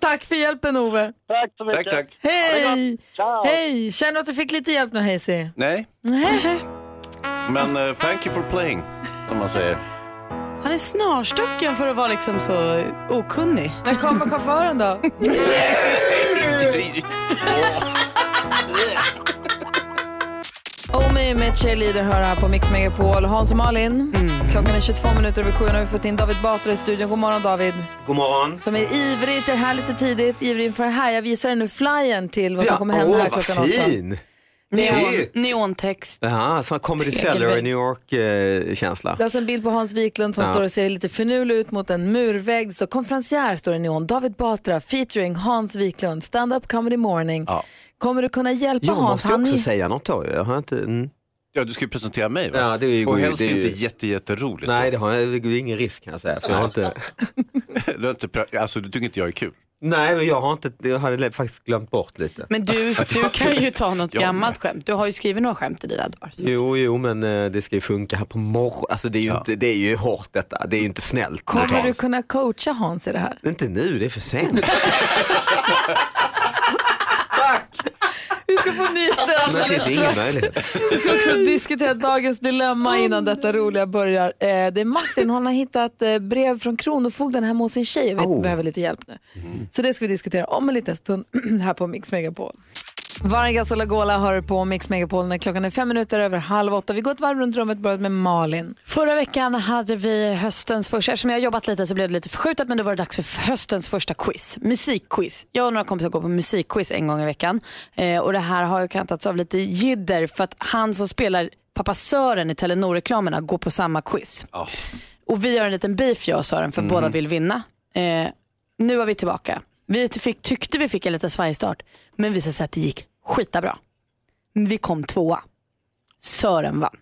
Tack för hjälpen Ove. Tack så mycket. Tack, tack. Ha det Hej! gott. Ciao. Hej! Känner du att du fick lite hjälp nu Hayesy? Nej, Nej. men eh, thank you for playing, som man säger. Han är snarstucken för att vara liksom så okunnig. När kommer chauffören då? Omi med Oh, Cheerleader hör här på Mix Megapol. Hans och Malin, klockan är 22 minuter över sju och nu har vi fått in David Batra i studion. God morgon David. God morgon. Som är ivrig till här lite tidigt, ivrig inför det här. Jag visar dig nu flyern till vad som kommer hända här klockan vad åtta. fin. Neon, Shit. neontext. Jaha, sån comedy Tegelvägg. cellar i New York-känsla. Det är alltså en bild på Hans Wiklund som Ja. står och ser lite finurlig ut mot en murvägg. Så konferencier står det i neon. David Batra featuring Hans Wiklund, stand-up comedy morning. Kommer du kunna hjälpa jag Hans? måste ju också är- säga något då. Jag har inte... Mm. Ja, du ska ju presentera mig va? Ja, det är ju Och god- helst det är ju- inte jätte, jätteroligt. Nej, det, har jag, det är ingen risk kan jag säga. För jag har inte... du, har inte pra- alltså, du tycker inte jag är kul? Nej, men jag har inte... Jag hade faktiskt glömt bort lite. Men du, du kan ju ta något Ja, gammalt skämt. Du har ju skrivit några skämt i dina dagar. så att- Jo, jo, men eh, det ska ju funka här på morgonen. Alltså det är ju, inte, det är ju hårt detta. Det är ju inte snällt. mot Kommer du Hans. kunna coacha Hans i det här? Inte nu, det är för sent. Vi ska få nyheter Men det alldeles finns ingen strax. möjlighet. Vi ska också diskutera dagens dilemma innan detta roliga börjar. Eh, det är Martin, hon har hittat eh, brev från Kronofogden hemma hos sin tjej och vet, Oh. behöver lite hjälp nu. Så det ska vi diskutera om en liten stund här på Mix Megapol. Vargas och Lagola hör på Mix Megapol när klockan är fem minuter över halv åtta. Vi går ett varv runt rummet och börjar med Malin. Förra veckan hade vi höstens första, eftersom jag har jobbat lite så blev det lite förskjutet men då var det dags för höstens första quiz, musikquiz. Jag och några kompisar går på musikquiz en gång i veckan eh, och det här har ju kantats av lite jidder för att han som spelar pappa Sören i Telenor-reklamerna går på samma quiz. Och vi har en liten beef jag och Sören för Mm. båda vill vinna. Eh, nu var vi tillbaka. Vi fick, tyckte vi fick en liten svajstart men visade sig att det gick skitabra. Vi kom tvåa. Sören vann.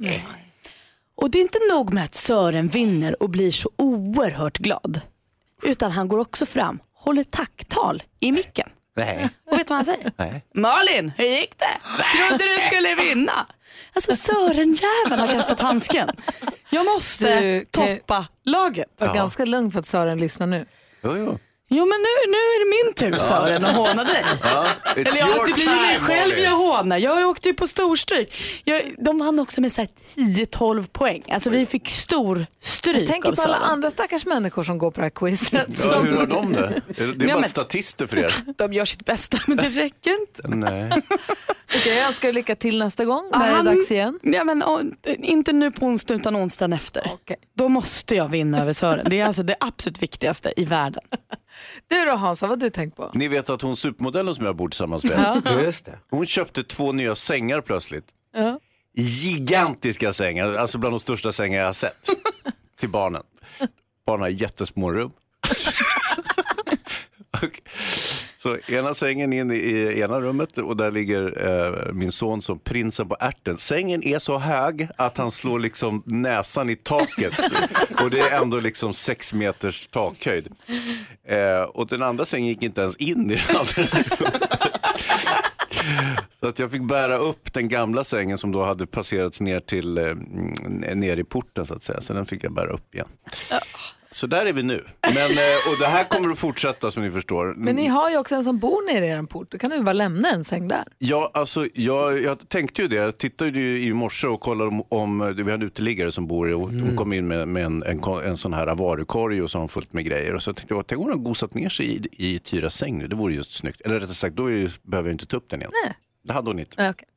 Nej. Och det är inte nog med att Sören vinner och blir så oerhört glad. Utan han går också fram, håller tacktal i micken. Nej. Och vet du vad han säger? Nej. Malin, hur gick det? Trodde du skulle vinna? Alltså Sören-jäveln har kastat handsken. Jag måste Du kan- toppa laget. Var ganska lugn för att Sören lyssnar nu. Jo, jo. Jo men nu, nu är det min tur Sören att håna dig. Ja, it's Eller jag, your det blir ju mig time, själv Molly. jag hånar. Jag åkte ju på storstryk. Jag, de vann också med så här 10-12 poäng. Alltså vi fick stor stryk Jag tänker av på alla Sören. andra stackars människor som går på det här quizet. Ja, hur har de det? Är Det Ja, är bara men- statister för er. De gör sitt bästa men det räcker inte. Nej. Okej, jag önskar er lycka till nästa gång Ja, när han- det är dags igen. Ja, men, och, inte nu på onsdag utan onsdagen efter. Då måste jag vinna över Sören. Det är alltså det absolut viktigaste i världen. Du då Hansa, vad har du tänkt på? Ni vet att hon supermodellen som jag bor tillsammans Ja. med, Just det. hon köpte två nya sängar plötsligt. Ja. Gigantiska sängar, alltså bland de största sängar jag har sett. Till barnen. Barnen har jättesmå rum. Och- Så ena sängen in i- i ena rummet och där ligger eh, min son som prinsen på ärten. Sängen är så hög att han slår liksom näsan i taket och det är ändå liksom sex meters takhöjd. Eh, och den andra sängen gick inte ens in i den andra så att jag fick bära upp den gamla sängen som då hade passerats ner, till, eh, n- ner i porten så att säga. Så den fick jag bära upp igen. Så där är vi nu. Men, eh, och det här kommer att fortsätta som ni förstår. Men Mm. ni har ju också en som bor nere i er port, då kan du väl bara lämna en säng där? Ja, alltså, jag, jag tänkte ju det. Jag tittade ju i morse och kollade om, om vi har en uteliggare som bor i, och Mm. hon kom in med, med en, en, ko- en sån här varukorg och så har hon fullt med grejer. Och så tänkte jag, tänk om hon har gosat ner sig i, i Tyras säng nu, det vore just snyggt. Eller rättare sagt, då är, ju- behöver jag inte ta upp den igen. Nej. Det hade hon inte. Ja, okej.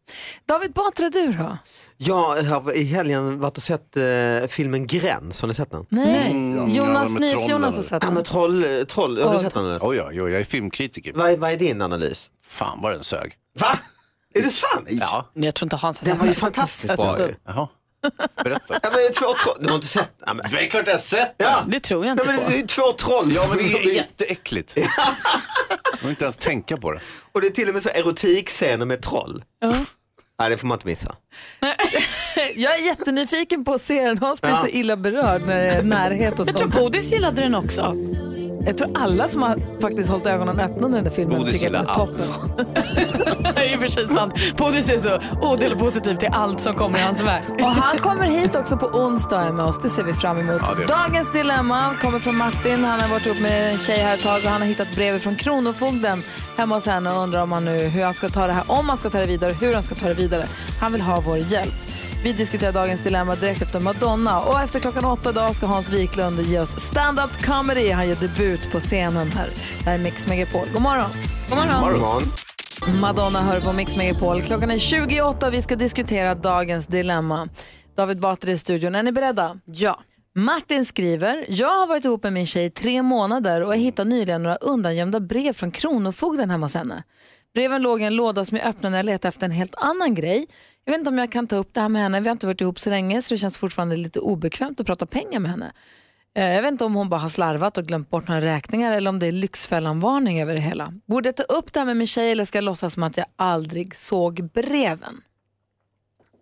David Batra, du då? Jag har i helgen varit och sett eh, filmen Gräns, har ni sett den? Nej. Eh, Mm, Jonas Nils Jonas har sett Ja, den. men troll, Eh, troll, har du Åh, sett den? eller? Oj, oj, oj, jag är filmkritiker. Vad, vad är din analys? Fan vad den sög. Va? Är det sant? Ja. Jag tror inte Hans har Den sett var ju den. fantastiskt bra ju. Jaha. Berätta. Ja, men det är två troll. Du har inte sett den? Det är klart jag har sett den. Ja. Det tror jag inte Nej, men på. Det är ju två troll. Ja, men det som- är jätteäckligt. Jag vill inte ens tänka på det. Och det är till och med så erotikscener med troll. Nej, det får man inte missa. Jag är jättenyfiken på att se den. Hans blir Ja. så illa berörd när det är närhet och sånt. Jag tror Bodis gillade den också. Jag tror alla som har faktiskt hållit ögonen öppna under den där filmen Bodis tycker att den gillar är toppen. det är ju för sig sant. Bodis är så odelat positiv till allt som kommer i hans väg. Och han kommer hit också på onsdag med oss. Det ser vi fram emot. Ja, det är bra. Dagens dilemma kommer från Martin. Han har varit ihop med en tjej här ett tag och han har hittat brevet från Kronofogden hemma hos henne och undrar om han nu hur han ska ta det här, om han ska ta det vidare och hur han ska ta det vidare. Han vill ha vår hjälp. Vi diskuterar dagens dilemma direkt efter Madonna och efter klockan åtta idag ska Hans Wiklund ge oss stand-up comedy. Han gör debut på scenen här. Det här är Mix Megapol. God morgon! God Madonna hör på Mix Megapol. Klockan är 28 och vi ska diskutera dagens dilemma. David Batra i studion. Är ni beredda? Ja. Martin skriver, jag har varit ihop med min tjej i tre månader och jag hittade nyligen några undangömda brev från Kronofogden hemma hos henne. Breven låg i en låda som jag öppnade när jag letade efter en helt annan grej. Jag vet inte om jag kan ta upp det här med henne, vi har inte varit ihop så länge så det känns fortfarande lite obekvämt att prata pengar med henne. Eh, Jag vet inte om hon bara har slarvat och glömt bort några räkningar eller om det är Lyxfällan-varning över det hela. Borde jag ta upp det här med min tjej eller ska jag låtsas som att jag aldrig såg breven?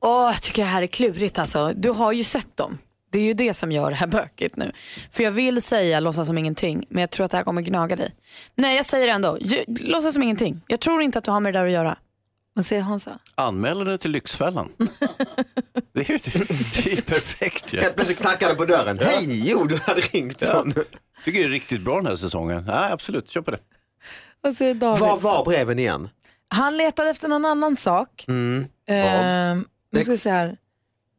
Åh, jag tycker det här är klurigt alltså. Du har ju sett dem. Det är ju det som gör det här bökigt nu. För jag vill säga låtsas som ingenting, men jag tror att det här kommer gnaga dig. Nej, jag säger det ändå. Ju- Låtsas som ingenting. Jag tror inte att du har med det där att göra. Vad säger Hansa? Anmäler det till Lyxfällan. Det är ju det är ju perfekt ju. Helt plötsligt knackade på dörren. Hej, jo du hade ringt från... tycker det är riktigt bra den här säsongen. Nej, absolut, kör på det. Vad säger David? Vad var breven igen? Han letade efter någon annan sak. Mm. Ehm, nu ska vi se här.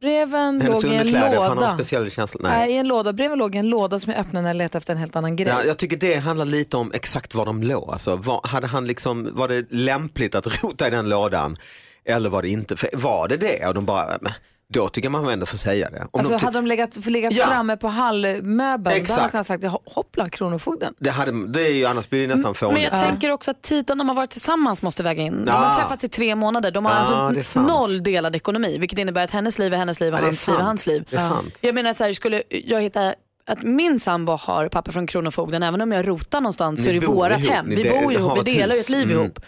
Breven Hennes låg i en underkläder, för han har en låda. speciell känsla. Nej. i en låda. Breven låg i en låda som jag öppnade när jag letade efter en helt annan grej. Ja, jag tycker det handlar lite om exakt var de låg. Alltså, var, hade han liksom, var det lämpligt att rota i den lådan eller var det inte? För var det det? Och de bara, "Äh, men, då tycker man ändå får säga det. Om alltså de ty- hade de legat, legat Ja. framme på hallmöbeln, då Exakt. hade han sagt hoppla kronofogden. det, hade, det är ju annars blir det nästan Men fånigt. jag tänker också att tiden de har varit tillsammans måste väga in. De Ja. har träffats i tre månader. De har Ja, det är alltså sant. noll delad ekonomi, vilket innebär att hennes liv är hennes liv och Ja, det är hans liv är sant. hans liv. Det är sant. Jag menar så här, skulle jag hitta att min sambo har papper från Kronofogden, även om jag rotar någonstans så Ni är det bor vårat ihop, hem. ni Vi del- bor ju har ihop, vi ett delar ju hus. ett liv Mm. ihop.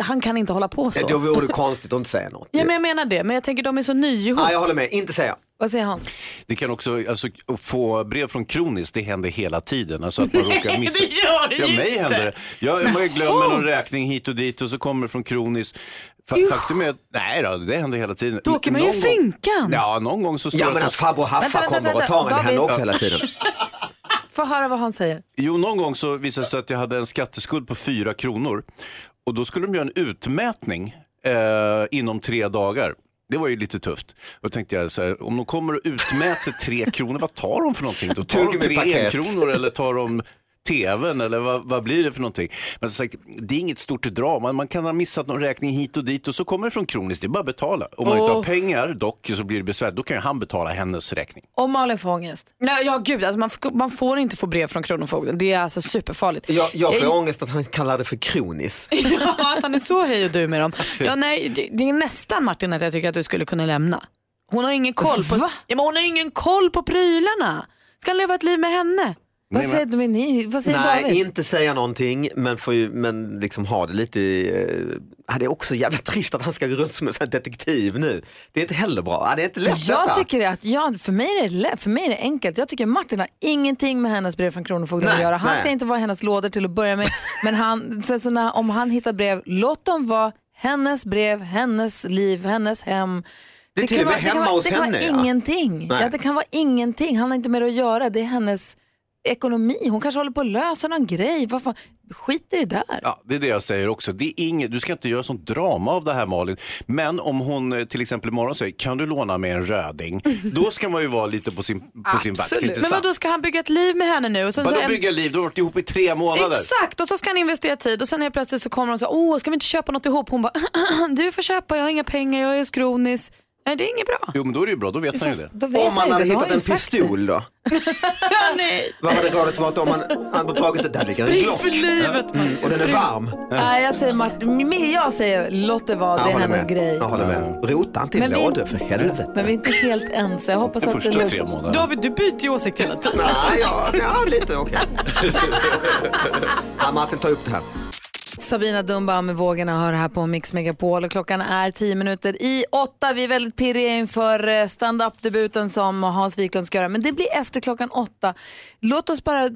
Han kan inte hålla på så. Då vore det konstigt att inte säga något. Ja, men jag menar det, men jag tänker de är så nya ihop. Ja, jag håller med, inte säga. Vad säger Hans? Det kan också, alltså att få brev från Kronis, det händer hela tiden. Alltså att man Nej, råkar missa. det gör det ja, ju mig inte. händer det. Jag, Men man glömmer någon Hans! räkning hit och dit och så kommer det från Kronis. Fa Usch. faktum är att, nej då, det händer hela tiden. Då åker man ju i Någon gång- finkan. Ja, någon gång så står Ja det men på- att farbror Haffa Vänta, vänta, kommer och vänta, tar en, det David. händer också Ja. hela tiden. Få höra vad han säger. Jo, någon gång så visade det sig att jag hade en skatteskuld på fyra kronor. Och då skulle de göra en utmätning eh, inom tre dagar. Det var ju lite tufft. Då tänkte jag så här, om de kommer och utmäter tre kronor, vad tar de för någonting? Då tar de Tugga med tre paket. kronor eller tar de tvn eller vad, vad blir det för någonting? Men som sagt, det är inget stort drama. Man kan ha missat någon räkning hit och dit och så kommer det från Kronis. Det är bara att betala. Om man inte har Åh. pengar dock så blir det besvär. Då kan ju han betala hennes räkning. Och Malin får ångest. Nej, ja gud, alltså man, f- man får inte få brev från Kronofogden. Det är alltså superfarligt. Jag, jag får Jag- ångest att han kallar det för kronis. ja, att han är så hej och du med dem. Ja, nej, det, det är nästan Martin att jag tycker att du skulle kunna lämna. Hon har ingen koll på, ja, men hon har ingen koll på prylarna. Ska han leva ett liv med henne? Vad Nej, men- säger du, ni? Vad Nej, inte säga någonting men, får ju, men liksom ha det lite i, eh, ja, Det är också jävla trist att han ska gå runt som en sån här detektiv nu. Det är inte heller bra. Ja, det är inte lätt Jag detta. tycker att, ja, för, mig är det, lä- för mig är det enkelt. Jag tycker Martin har ingenting med hennes brev från Kronofogden Nej, att göra. Han nej. ska inte vara i hennes lådor till att börja med. Men han, sen så när, om han hittar brev, låt dem vara hennes brev, hennes liv, hennes hem. Det är till och med det kan hemma vara, hos det kan henne, vara ja. ingenting. Nej. Ja, det kan vara ingenting. Han har inte med det att göra. Det är hennes ekonomi, hon kanske håller på att lösa någon grej. Vad fan? Skit i det där. Ja, det är det jag säger också. Det är inget, du ska inte göra sånt drama av det här Malin. Men om hon eh, till exempel imorgon säger, kan du låna mig en röding? Då ska man ju vara lite på sin, på sin vakt. Absolut. inte Men sant? vadå, ska han bygga ett liv med henne nu? Och sen så Vadå en- bygga liv? Du har varit ihop i tre månader. Exakt, och så ska han investera tid och sen helt plötsligt så kommer de så här, åh ska vi inte köpa något ihop? Hon bara, du får köpa, jag har inga pengar, jag är skronis. Nej det är inget bra. Jo men då är det ju bra, då vet man ju det. då vet om man jag hade ju det, då har hittat jag en ju sagt pistol då? Vad hade rådet varit om man hade tagit det? Där ligger en Spring Glock. för livet, mm, och den är Spring. varm. Nej, jag säger Martin, men jag säger låt det vara, det är håller hennes med. grej. Jag håller med. Rota inte i Men vi- lådor för helvete. Men vi är inte helt ense. Jag hoppas De att det första löser tre månaderna. David, du byter ju åsikt hela tiden. Nej, ja, ja lite okej. ja, Martin, ta upp det här. Sabina Dumba med Vågorna hör här på Mix Megapol och klockan är 10 minuter i åtta. Vi är väldigt pirriga inför eh, stand-up-debuten som Hans Wiklund ska göra, men det blir efter klockan åtta. Låt oss bara eh,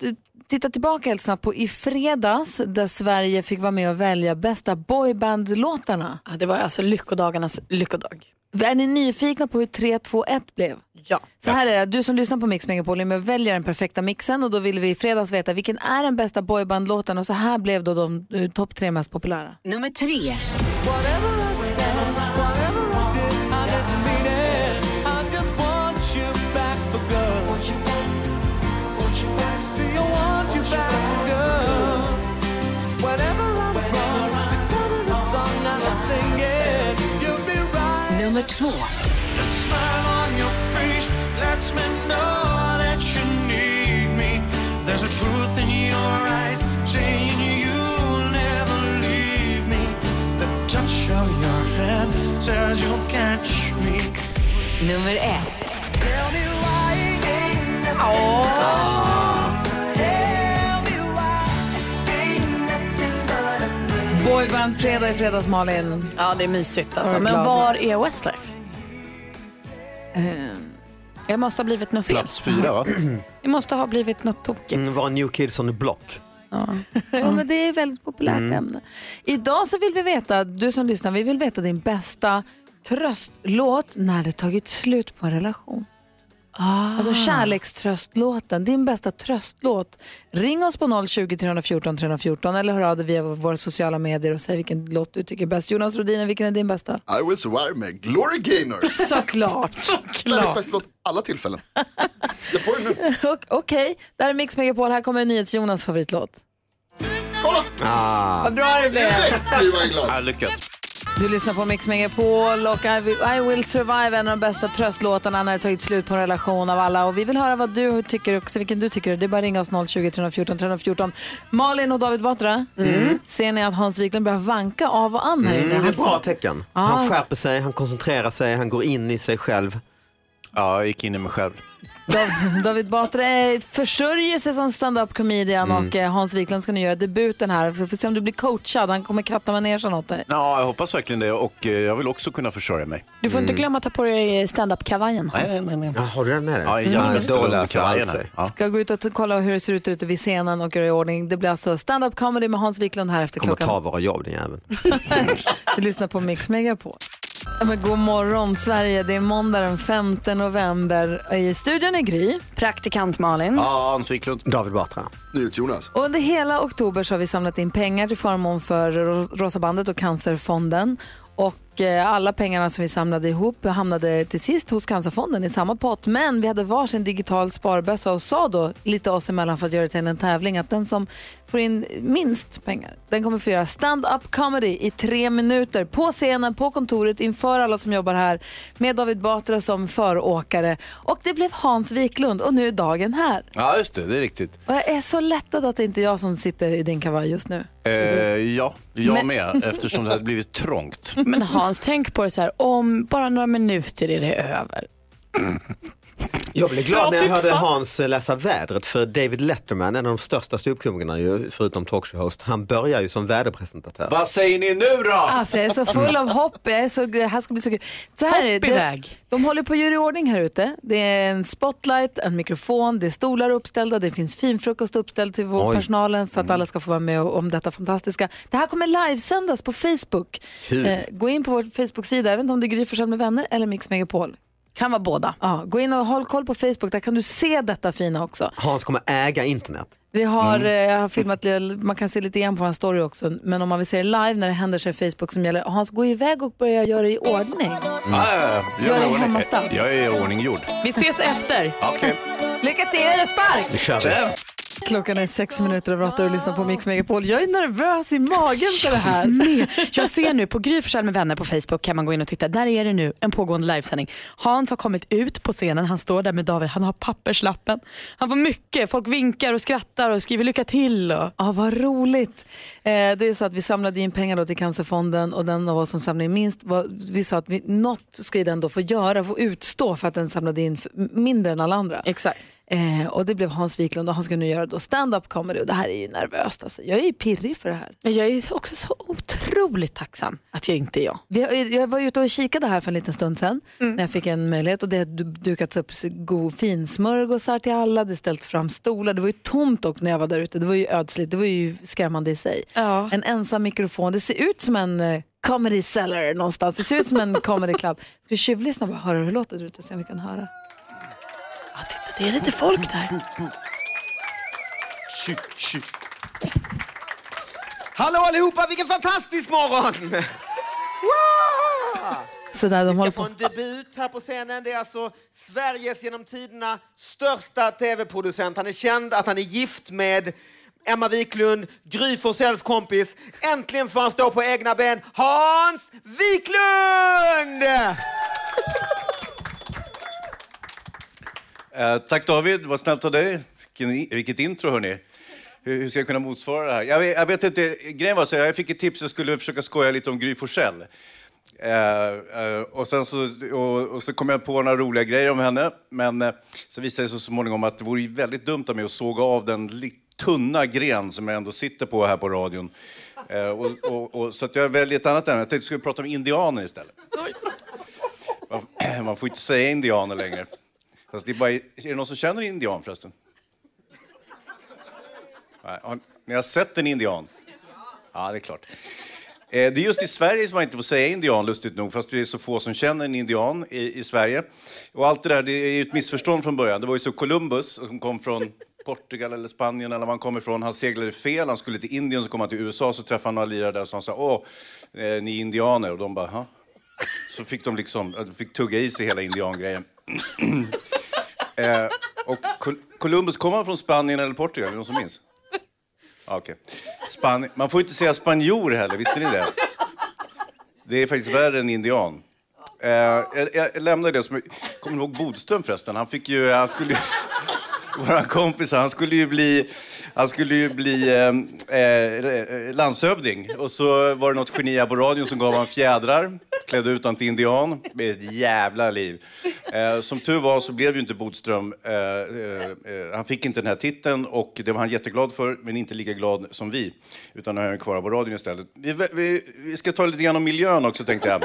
titta tillbaka helt snabbt på i fredags där Sverige fick vara med och välja bästa boyband-låtarna. Det var alltså lyckodagarnas lyckodag. Är ni nyfikna på hur 3, 2, 1 blev? Ja. Så här är det, du som lyssnar på Mix Megapol är med och väljer den perfekta mixen och då ville vi i fredags veta vilken är den bästa boybandlåten och så här blev då de eh, topp tre mest populära. Nummer tre. Nummer två. Nummer ett. Boyband fredag i fredags Malin. Ja det är mysigt Har alltså. du Men klarat var är Westlife? Eh, Jag måste ha blivit något fel. Plats fyra, va? Det måste ha blivit något tokigt. Mm, var New Kids on the Block. Ja, men det är ett väldigt populärt Mm. ämne. Idag så vill vi veta, du som lyssnar, vi vill veta din bästa tröstlåt när det tagit slut på en relation. Alltså kärlekströstlåten, din bästa tröstlåt. Ring oss på 020 314 314 eller hör av dig via våra sociala medier och säg vilken låt du tycker är bäst. Jonas Rodiner, vilken är din bästa? I was warm med Glory Gaynor. Såklart. Världens bästa låt alla tillfällen. Se på den nu. Och- Okej, där är Mix Megapol. Här kommer NyhetsJonas favoritlåt. Kolla! Vad bra det blev. Nu var jag glad. Ah. Ja, lyckat. Du lyssnar på Mix Megapol och I will, I will survive, en av de bästa tröstlåtarna när det tagit slut på en relation av alla. Och vi vill höra vad du tycker också, vilken du tycker. Det är bara att ringa oss 020 314 314. Malin och David Batra, ser ni att Hans Wiklund börjar vanka av och an här Mm, det inne? är Han ett bra tecken. Ah. Han skärper sig, han koncentrerar sig, han går in i sig själv. Ja, jag gick in i mig själv. Dav- David Batra eh, försörjer sig som stand-up comedian Mm. och eh, Hans Wiklund ska nu göra debuten här. Vi får se om du blir coachad, han kommer kratta manegen åt dig. Ja, jag hoppas verkligen det och eh, jag vill också kunna försörja mig. Mm. Du får inte Mm. glömma att ta på dig stand-up-kavajen Hans. nej, nej. Ja, har du den med dig? Ja, jag Mm. måste Då väl under löser allt kavajen här. sig. Ja. Ska gå ut och t- kolla hur det ser ut ute vid scenen och göra i ordning. Det blir alltså stand-up comedy med Hans Wiklund här efter Kommer klockan ta våra jobb den jäveln. Mm. Du lyssnar på Mix Megapol. Ja, men god morgon Sverige, det är måndag den 5 november. I studion är Gry. Praktikant Malin. Hans Wiklund. David Batra. Jonas. Och under hela oktober så har vi samlat in pengar till förmån för Ro- Rosa bandet och Cancerfonden. Och eh, alla pengarna som vi samlade ihop hamnade till sist hos Cancerfonden i samma pott. Men vi hade varsin digital sparbössa och sa då lite oss emellan för att göra det till en tävling att den som får in minst pengar, den kommer få göra stand-up comedy i tre minuter på scenen, på kontoret, inför alla som jobbar här med David Batra som föråkare. Och det blev Hans Wiklund och nu är dagen här. Ja, just det, det är riktigt. Och jag är så lättad att det inte är jag som sitter i din kavaj just nu. Eh, ja, jag Men- med, eftersom det hade blivit trångt. Men Hans, tänk på det så här, om bara några minuter är det över. Jag blev glad när jag Bra tips, hörde va? Hans läsa vädret för David Letterman, en av de största ståuppkomikerna ju, förutom talkshow-host, han börjar ju som väderpresentatör. Vad säger ni nu då? Alltså jag är så full av hopp. Jag är så, det här ska bli så kul. Så här är Hopp det. iväg. De håller på att göra i ordning här ute. Det är en spotlight, en mikrofon, det är stolar uppställda, det finns finfrukost uppställd till vår Oj. Mm. personalen för att alla ska få vara med om detta fantastiska. Det här kommer livesändas på Facebook. Eh, Kul. gå in på vår Facebook-sida, även om det är Gry Forssell med vänner eller Mix Megapol. Kan vara båda. Ja, gå in och håll koll på Facebook, där kan du se detta fina också. Hans kommer äga internet. Vi har, eh, jag har filmat, li- man kan se lite igen på vår story också, men om man vill se det live när det händer så är det Facebook som gäller. Hans, gå iväg och börja göra det i ordning. Ah, Gör mig det i ordning. hemmastats. Jag är ordninggjord. Vi ses efter. Okej, Lycka till, er spark! nu kör vi. Klockan är sex minuter över åtta och du lyssnar på Mix Megapol. Jag är nervös i magen för det här. med. Jag ser nu på Gry Forssell med vänner på Facebook kan man gå in och titta. Där är det nu en pågående livesändning. Hans har kommit ut på scenen. Han står där med David. Han har papperslappen. Han får mycket. Folk vinkar och skrattar och skriver lycka till. Och... Ja, vad roligt. Eh, det är så att vi samlade in pengar då till Cancerfonden och den av oss som samlade in minst, var, vi sa att vi, något ska ju den då få göra, få utstå för att den samlade in f- mindre än alla andra. Exakt. Eh, och det blev Hans Wiklund och han ska nu göra då stand-up comedy och det här är ju nervöst alltså. Jag är ju pirrig för det här. Jag är också så otroligt tacksam att jag inte är jag. Vi, jag var ute och kikade här för en liten stund sedan Mm. när jag fick en möjlighet och det har du- dukats upp så god finsmörgåsar till alla, det ställts fram stolar, det var ju tomt också när jag var där ute, det var ju ödsligt, det var ju skrämmande i sig. En ensam mikrofon, det ser ut som en eh, comedy cellar någonstans, det ser ut som en comedy club. Ska vi tjuvlyssna och bara höra hur det låter där ute, se om vi kan höra. Ja, titta, det är lite folk där. Hallå allihopa, vilken fantastisk morgon! Wow! Så där, de Vi håller ska få på. en debut här på scenen. Det är alltså Sveriges genom tiderna största tv-producent. Han är känd att han är gift med Emma Wiklund, Gry Forssells kompis. Äntligen får han stå på egna ben. Hans Wiklund! Eh, tack David, vad snällt av dig. Vilken, i- vilket intro hörni. Hur, hur ska jag kunna motsvara det här? Jag vet, jag vet inte, grejen var så här, jag fick ett tips och skulle försöka skoja lite om Gry Forssell. Eh, eh, och, sen så, och, och så kom jag på några roliga grejer om henne. Men eh, så visade det sig så småningom att det vore ju väldigt dumt av mig att såga av den li- tunna gren som jag ändå sitter på här på radion. Eh, och, och, och, så att jag väljer ett annat ämne. Jag tänkte att vi skulle prata om indianer istället. Man, man får inte säga indianer längre. Fast det är, bara, är det någon som känner en indian förresten? Nej, har, ni har sett en indian? Ja, det är klart. Eh, det är just i Sverige som man inte får säga indian, lustigt nog, fast vi är så få som känner en indian i, i Sverige. Och allt det där, det är ju ett missförstånd från början. Det var ju så Columbus, som kom från Portugal eller Spanien eller var han kom ifrån, han seglade fel, han skulle till Indien, så kom han till USA, så träffade han några lirare där, så han sa åh, eh, ni är indianer, och de bara, ha? Så fick de liksom, de fick tugga i sig hela indiangrejen. eh, och Col- Columbus, kom han från Spanien eller Portugal? Är det någon som minns? Ja, Okej. Span- Man får inte säga spanjor heller, visste ni det? Det är faktiskt värre än indian. Eh, jag, jag lämnar det som... Kommer ni ihåg Bodström förresten? Han fick ju... Han skulle ju våra kompisar, han skulle ju bli, han skulle ju bli eh, eh, landshövding. Och så var det något geni här på radion som gav han fjädrar, klädde ut han till indian. Det är ett jävla liv. Eh, som tur var så blev ju inte Bodström, eh, eh, eh, han fick inte den här titeln och det var han jätteglad för, men inte lika glad som vi. Utan nu har han kvar här på radion istället. Vi, vi, vi ska ta lite grann om miljön också tänkte jag.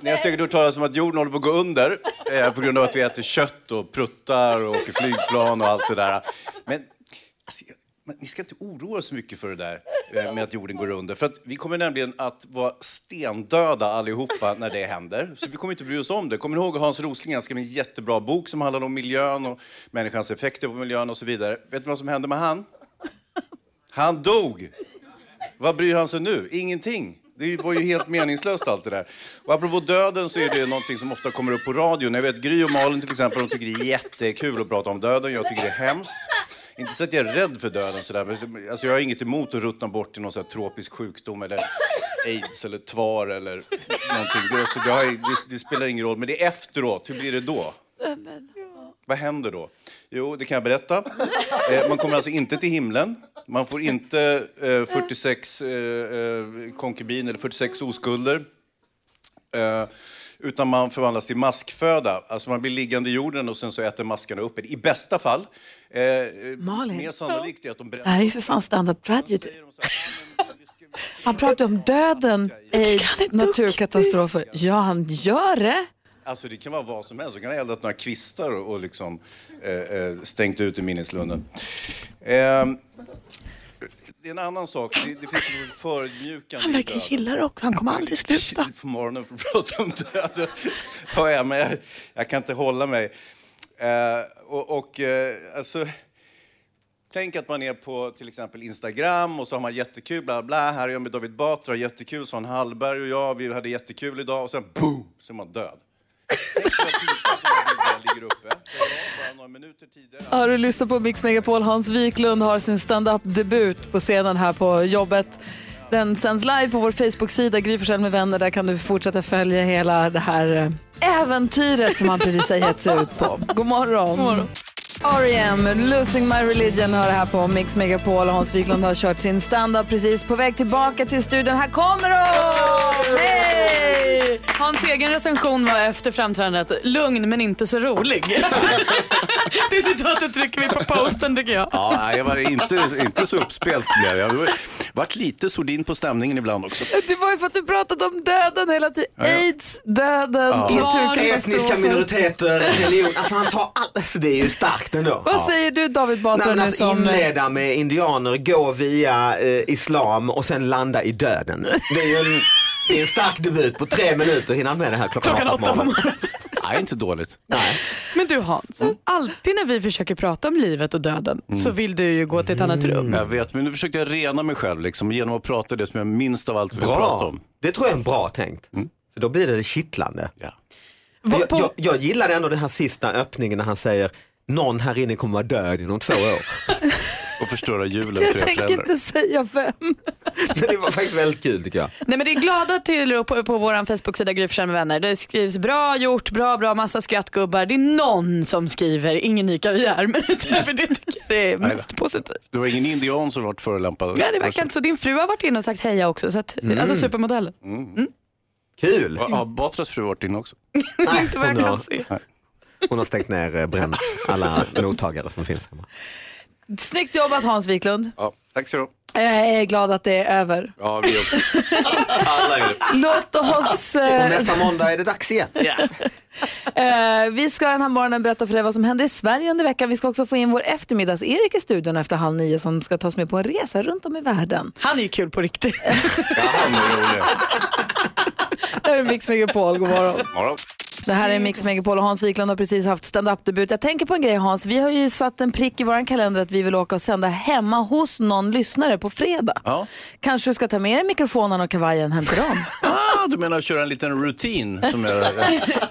Ni har säkert hört talas om att jorden håller på att gå under eh, på grund av att vi äter kött och pruttar och åker flygplan och allt det där. Men, alltså, jag- men ni ska inte oroa er så mycket för det där eh, med att jorden går under. För att vi kommer nämligen att vara stendöda allihopa när det händer. Så vi kommer inte bry oss om det. Kommer ni ihåg Hans Rosling? Han skrev en jättebra bok som handlade om miljön och människans effekter på miljön och så vidare. Vet ni vad som hände med han? Han dog! Vad bryr han sig nu? Ingenting. Det var ju helt meningslöst allt det där. Och apropå döden så är det någonting som ofta kommer upp på radion. Jag vet Gry och Malin till exempel, de tycker det är jättekul att prata om döden. Jag tycker det är hemskt. Inte så att jag är rädd för döden sådär, men alltså jag har inget emot att ruttna bort i någon så här tropisk sjukdom eller aids eller tvar eller någonting. Det, är så det, har, det, det spelar ingen roll, men det är efteråt. Hur blir det då? Vad händer då? Jo, det kan jag berätta. Eh, man kommer alltså inte till himlen. Man får inte eh, 46 eh, eh, konkubiner eller 46 oskulder. Eh, utan man förvandlas till maskföda. Alltså man blir liggande i jorden och sen så äter maskarna upp en. I bästa fall. Eh, Malin. Mer sannolikt är att de Det här är ju för fan stand-up tragedy. Han pratar om döden, aids, naturkatastrofer. Ja, han gör det. Alltså det kan vara vad som helst. Du kan ha eldat några kvistar och, och liksom, eh, eh, stängt ut i minneslunden. Ehm, Det är en annan sak. Det, det finns en förödmjukande Han verkar död. gilla det också, han kommer aldrig sluta. på morgonen för att prata om döden. Ja, ja, men jag, jag kan inte hålla mig. Eh, och, och eh, alltså, tänk att man är på till exempel Instagram och så har man jättekul, bla bla, här är jag med David Batra, jättekul, Svan Hallberg och jag, vi hade jättekul idag och sen boom, så är man död. Ja, du lyssnar på Mix Megapol. Hans Wiklund har sin stand-up-debut på scenen här på jobbet. Den sänds live på vår Facebook-sida, Gry Forssell med vänner. Där kan du fortsätta följa hela det här eh, äventyret som han precis har gett sig ut på. God morgon. God morgon. R.E.M. Losing My Religion hör här på Mix Megapol. Hans Wiklund har kört sin stand-up precis på väg tillbaka till studion. Här kommer hon! Hej! Hans egen recension var efter framträdandet, lugn men inte så rolig. det citatet trycker vi på posten tycker jag. Ja, nej, jag var inte, inte så uppspelt blev jag. Jag vart lite sordin på stämningen ibland också. Det var ju för att du pratade om döden hela tiden. Aids, döden, Ja. naturkatastrofer. Etniska minoriteter, religion. Alltså han tar allt. Alltså, det är ju starkt ändå. Vad Ja. säger du David Nej, Batra men nu alltså, som... eh, inleda med indianer, gå via eh, islam och sen landa i döden. Det är ju en, det är en stark debut på tre minuter hinner han med det här klockan, Klockan åtta på Nej, inte dåligt. Men du Hans, alltid när vi försöker prata om livet och döden Mm. så vill du ju gå till ett annat Mm. rum. Jag vet, men nu försökte jag rena mig själv liksom, genom att prata det som jag minst av allt vill Bra. prata om. Det tror jag är en bra tänkt. Mm. För då blir det kittlande. Jag, jag, jag gillade ändå den här sista öppningen när han säger någon här inne kommer vara död inom två år. och förstöra julen Jag tänker inte säga vem. Det var faktiskt väldigt kul tycker jag. Nej men det är glada tillrop på, på vår Facebook-sida Gry Forssell med vänner. Det skrivs bra gjort, bra bra, massa skrattgubbar. Det är någon som skriver, ingen ny karriär. Men utöver det tycker jag det är Nej då. mest positivt. Det var ingen indian som varit förolämpad. Ja, det verkar inte så. Din fru har varit inne och sagt heja också. Så att, Mm. Alltså supermodellen. Mm. Kul! Ja, har Batras fru varit inne också? Inte vad jag hon kan har- se. Hon har stängt ner, eh, bränt alla mottagare som finns hemma. Snyggt jobbat Hans Wiklund. Ja, tack så du Jag är glad att det är över. Ja, vi också. Alla är det. Låt oss... Och eh, nästa måndag är det dags igen. eh, vi ska den här morgonen berätta för dig vad som händer i Sverige under veckan. Vi ska också få in vår eftermiddags-Erik i studion efter halv nio som ska ta oss med på en resa runt om i världen. Han är ju kul på riktigt. Det här är Mix Megapol, god morgon. morgon. Det här är Mix Megapol och Hans Wiklund har precis haft stand-up-debut. Jag tänker på en grej Hans, vi har ju satt en prick i vår kalender att vi vill åka och sända hemma hos någon lyssnare på fredag. Kanske du ska ta med dig mikrofonen och kavajen hem till dem? Ah, du menar att köra en liten rutin? Som jag...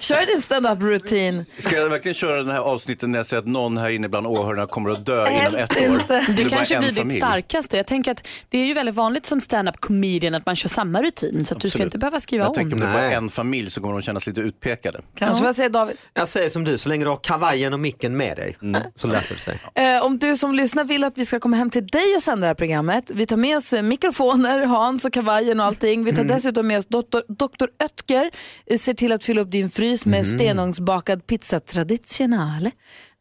Kör din stand-up-rutin. Ska jag verkligen köra den här avsnitten när jag säger att någon här inne bland åhörarna kommer att dö inom ett år? Vill Det bara kanske en blir ditt familj? starkaste. Jag tänker att det är ju väldigt vanligt som stand-up comedian att man kör samma rutin. Så att du ska Absolut. inte behöva skriva jag om. tänker om det bara är en familj så kommer de kännas lite utpekade. Kanske, vad säger David? Jag säger som du, så länge du har kavajen och micken med dig så löser det sig. Eh, om du som lyssnar vill att vi ska komma hem till dig och sända det här programmet. Vi tar med oss eh, mikrofoner, Hans och kavajen och allting. Vi tar Mm. dessutom med oss doktor, doktor Ötker. Eh, Ser till att fylla upp din frys med Mm. stenugnsbakad pizza traditionale.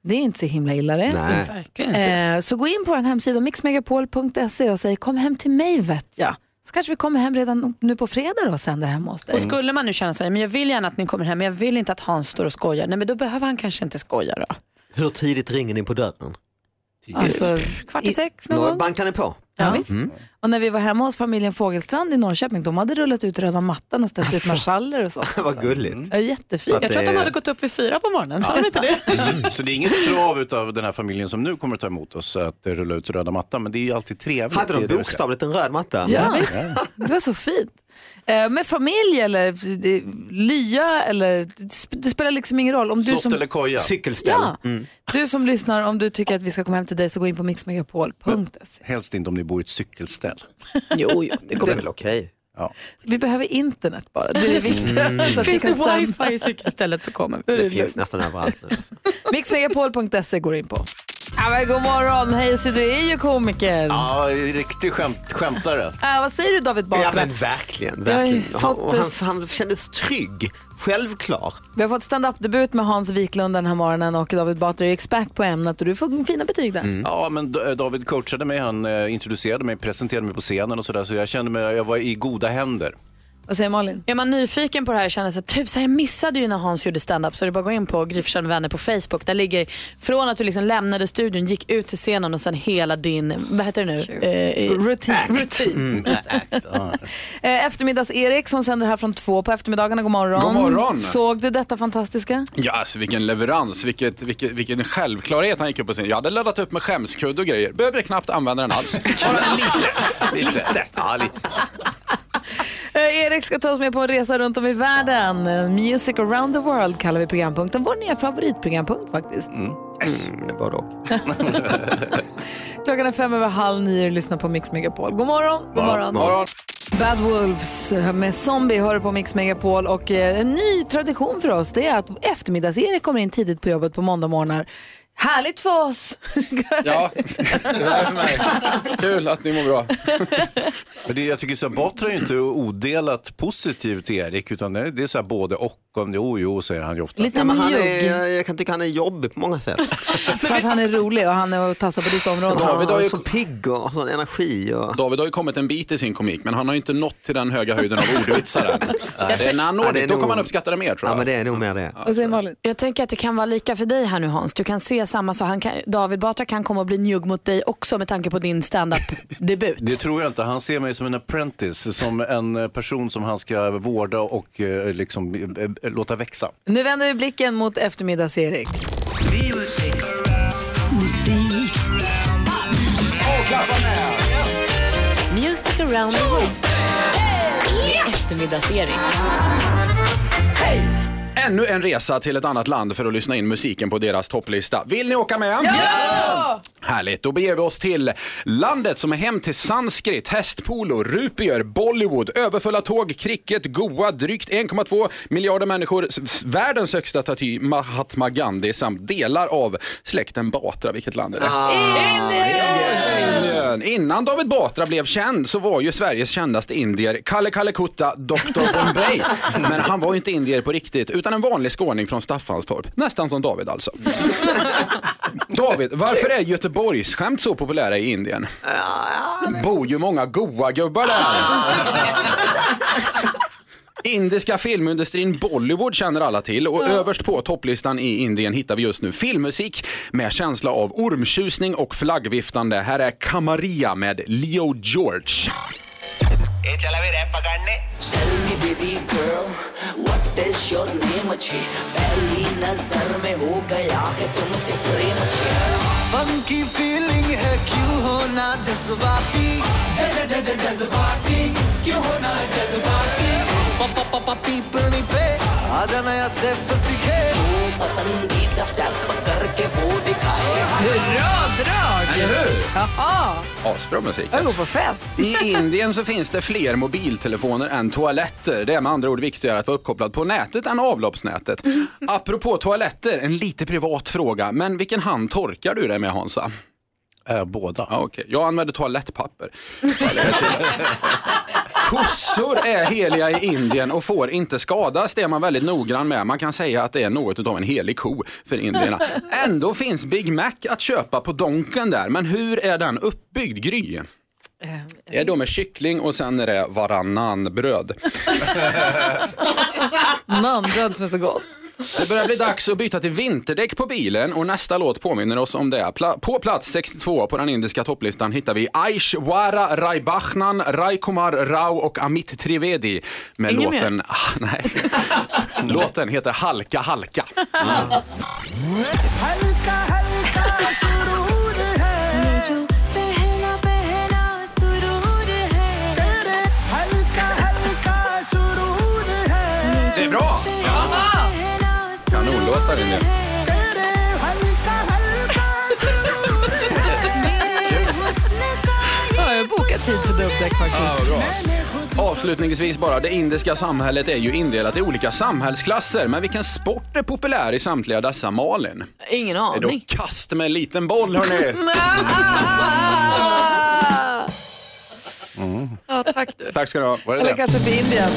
Det är inte så himla illa det. Mm. Nej. Verkligen inte. Eh, så gå in på vår hemsida mixmegapol.se och säg kom hem till mig vet jag. Så kanske vi kommer hem redan nu på fredag då och sänder hemma hos dig. Mm. Och skulle man nu känna sig, men jag vill gärna att ni kommer hem, men jag vill inte att Hans står och skojar. Nej men då behöver han kanske inte skoja då. Hur tidigt ringer ni på dörren? Alltså, kvart i sex någon Då gång. bankar ni på? Ja, visst. Och när vi var hemma hos familjen Fågelstrand i Norrköping, de hade rullat ut röda mattan och ställt Alltså. ut marschaller och sånt. Vad gulligt. Ja, jättefint. Så att Jag tror att de det- hade gått upp vid fyra på morgonen, Ja. Så, så det är inget krav av den här familjen som nu kommer att ta emot oss att eh, rulla ut röda mattan, men det är ju alltid trevligt. Hade de Det är det jag ska- bokstavligt en röd matta? Ja, visst. Det var så fint. Eh, Med familj eller eh, lya eller det sp- det spelar liksom ingen roll. Om du Slott som, eller koja? Cykelställ. Mm. Ja. Mm. Du som lyssnar, om du tycker att vi ska komma hem till dig så gå in på mixmegapol.se. Helst inte om ni bor i ett cykelställ. Jo, jo det, det är väl okej. Ja. Vi behöver internet bara, det är det viktiga. Mm. Så att vi Finns kan det sända. wifi i cykelstället så kommer vi. Det finns nästan överallt nu. Mixmegapol.se går du in på. Ja, men god morgon, hej så du är ju komiker. Ja, riktig skämt, skämtare. Äh, vad säger du David Batra? Ja men verkligen, Jag har ju verkligen. Han, fått- och han, han kändes trygg, självklar. Vi har fått stand-up-debut med Hans Wiklund den här morgonen och David Batra är ju expert på ämnet och du får fina betyg där. Mm. Ja, men D- David coachade mig, han eh, introducerade mig, presenterade mig på scenen och sådär, så jag kände mig, jag var i goda händer. Vad säger Malin? Är man nyfiken på det här känner sig typ så här, jag missade ju när Hans gjorde stand-up så det är bara att gå in på Gry Forssell med vänner på Facebook. Där ligger från att du liksom lämnade studion, gick ut till scenen och sen hela din, vad heter det nu? Eh, rutin. rutin. Eh, Eftermiddags-Erik som sänder här från två på eftermiddagarna. God morgon. God morgon. Såg du detta fantastiska? Ja, alltså vilken leverans, vilket, vilket, vilken självklarhet han gick upp på scen. Jag hade laddat upp med skämskudde och grejer, behövde knappt använda den alls. Bara lite, lite. Ja, lite. Eh, Erik ska ta oss med på en resa runt om i världen. Eh, Music around the world kallar vi programpunkten. Vår nya favoritprogrampunkt faktiskt. Mm, både och. Klockan är fem över halv nio och lyssnar på Mix Megapol. God morgon! God morgon. God morgon. Bad Wolves eh, med Zombie hör du på Mix Megapol och eh, en ny tradition för oss det är att eftermiddags-Erik kommer in tidigt på jobbet på måndagmorgnar. Härligt för oss! Ja, det där är för mig. Kul att ni mår bra. Men det, jag tycker så här, Batra är ju inte odelat positiv till Erik, utan det är det är så här både och. Om det är oh, jo, säger han ju ofta. ja, men han är, jag, jag kan tycka han är jobbig på många sätt. För att han är rolig och han är och tassar på ditt område. David har ju- så pigg och har sån energi. Och... David har ju kommit en bit i sin komik, men han har ju inte nått till den höga höjden av ordvitsar än. Det är när han når dit, då kommer han uppskatta det mer tror jag. Ja, men det är nog mer det. Vad säger Malin? Jag tänker att det kan vara lika för dig här nu Hans. Du kan se samma sak. Han kan, David Batra kan komma och bli njugg mot dig också med tanke på din stand-up-debut. Det tror jag inte. Han ser mig som en apprentice, som en eh, person som han ska vårda och eh, liksom, eh, eh, låta växa. Nu vänder vi blicken mot eftermiddags-Erik. Music around the world. Eftermiddagsserie. Ännu en resa till ett annat land för att lyssna in musiken på deras topplista. Vill ni åka med? Härligt, då beger vi oss till landet som är hem till sanskrit, hästpolo, rupier, Bollywood, överfulla tåg, cricket, Goa, drygt 1,2 miljarder människor, s- s- världens högsta staty, Mahatma Gandhi samt delar av släkten Batra. Vilket land är det? Indien! Innan David Batra blev känd så var ju Sveriges kändaste indier Kalle Kalle Kutta, Dr Bombay. Men han var ju inte indier på riktigt utan en vanlig skåning från Staffanstorp. Nästan som David alltså. David, varför är Göteborgsskämt så populära i Indien? Bor ju många goa gubbar där. Indiska filmindustrin Bollywood känner alla till och överst på topplistan i Indien hittar vi just nu filmmusik med känsla av ormtjusning och flaggviftande. Här är Kamaria med Leo George. Tell me baby girl, what is your name अच्छे पहली नजर में हो गया है तुमसे प्रेम अच्छे फंकी फीलिंग है क्यों होना जज्बाती ज- ज- ज- जज्बाती क्यों होना जज्बाती प- प- प- प- पीपनी पे आजा नया स्टेप तो सीखे पसंदीदा स्टेप करके वो दिखाए Eller hur? Jaha, Asbra musik. alltså. jag går på fest. I Indien så finns det fler mobiltelefoner än toaletter. Det är med andra ord viktigare att vara uppkopplad på nätet än avloppsnätet. Apropå toaletter, en lite privat fråga. Men vilken hand torkar du dig med Hansa? båda. Ja, okej. Jag använder toalettpapper. Kossor är heliga i Indien och får inte skadas. Det är man väldigt noggrann med. Man kan säga att det är något utav en helig ko för indierna. Ändå finns Big Mac att köpa på Donken där. Men hur är den uppbyggd, Gry? Eh, Det är då med kyckling och sen är det varannanbröd. Nanbröd som är så gott. Det börjar bli dags att byta till vinterdäck på bilen och nästa låt påminner oss om det. Pla- på plats 62 på den indiska topplistan hittar vi Aishwara Rai Bachnan, Rai Kumar Rao och Amit Trivedi med Ingen mer? låten... Ah, nej. låten heter Halka Halka. हल्का हल्का सुरूर है ये जो पहला पहला सुरूर है तेरे हल्का हल्का सुरूर है Det är bra! Kanonlåtar Indien. तेरे हल्का हल्का सुरूर है मेरे हुस्न का Ja, jag har bokat tid för dubbdäck faktiskt. Avslutningsvis bara, det indiska samhället är ju indelat i olika samhällsklasser, men vilken sport är populär i samtliga dessa, Malin? Ingen Är det aning. att kast med en liten boll, hörni? Ah! Mm. Ja, tack. Tack du. Tack ska du ha. Eller kanske för Indien.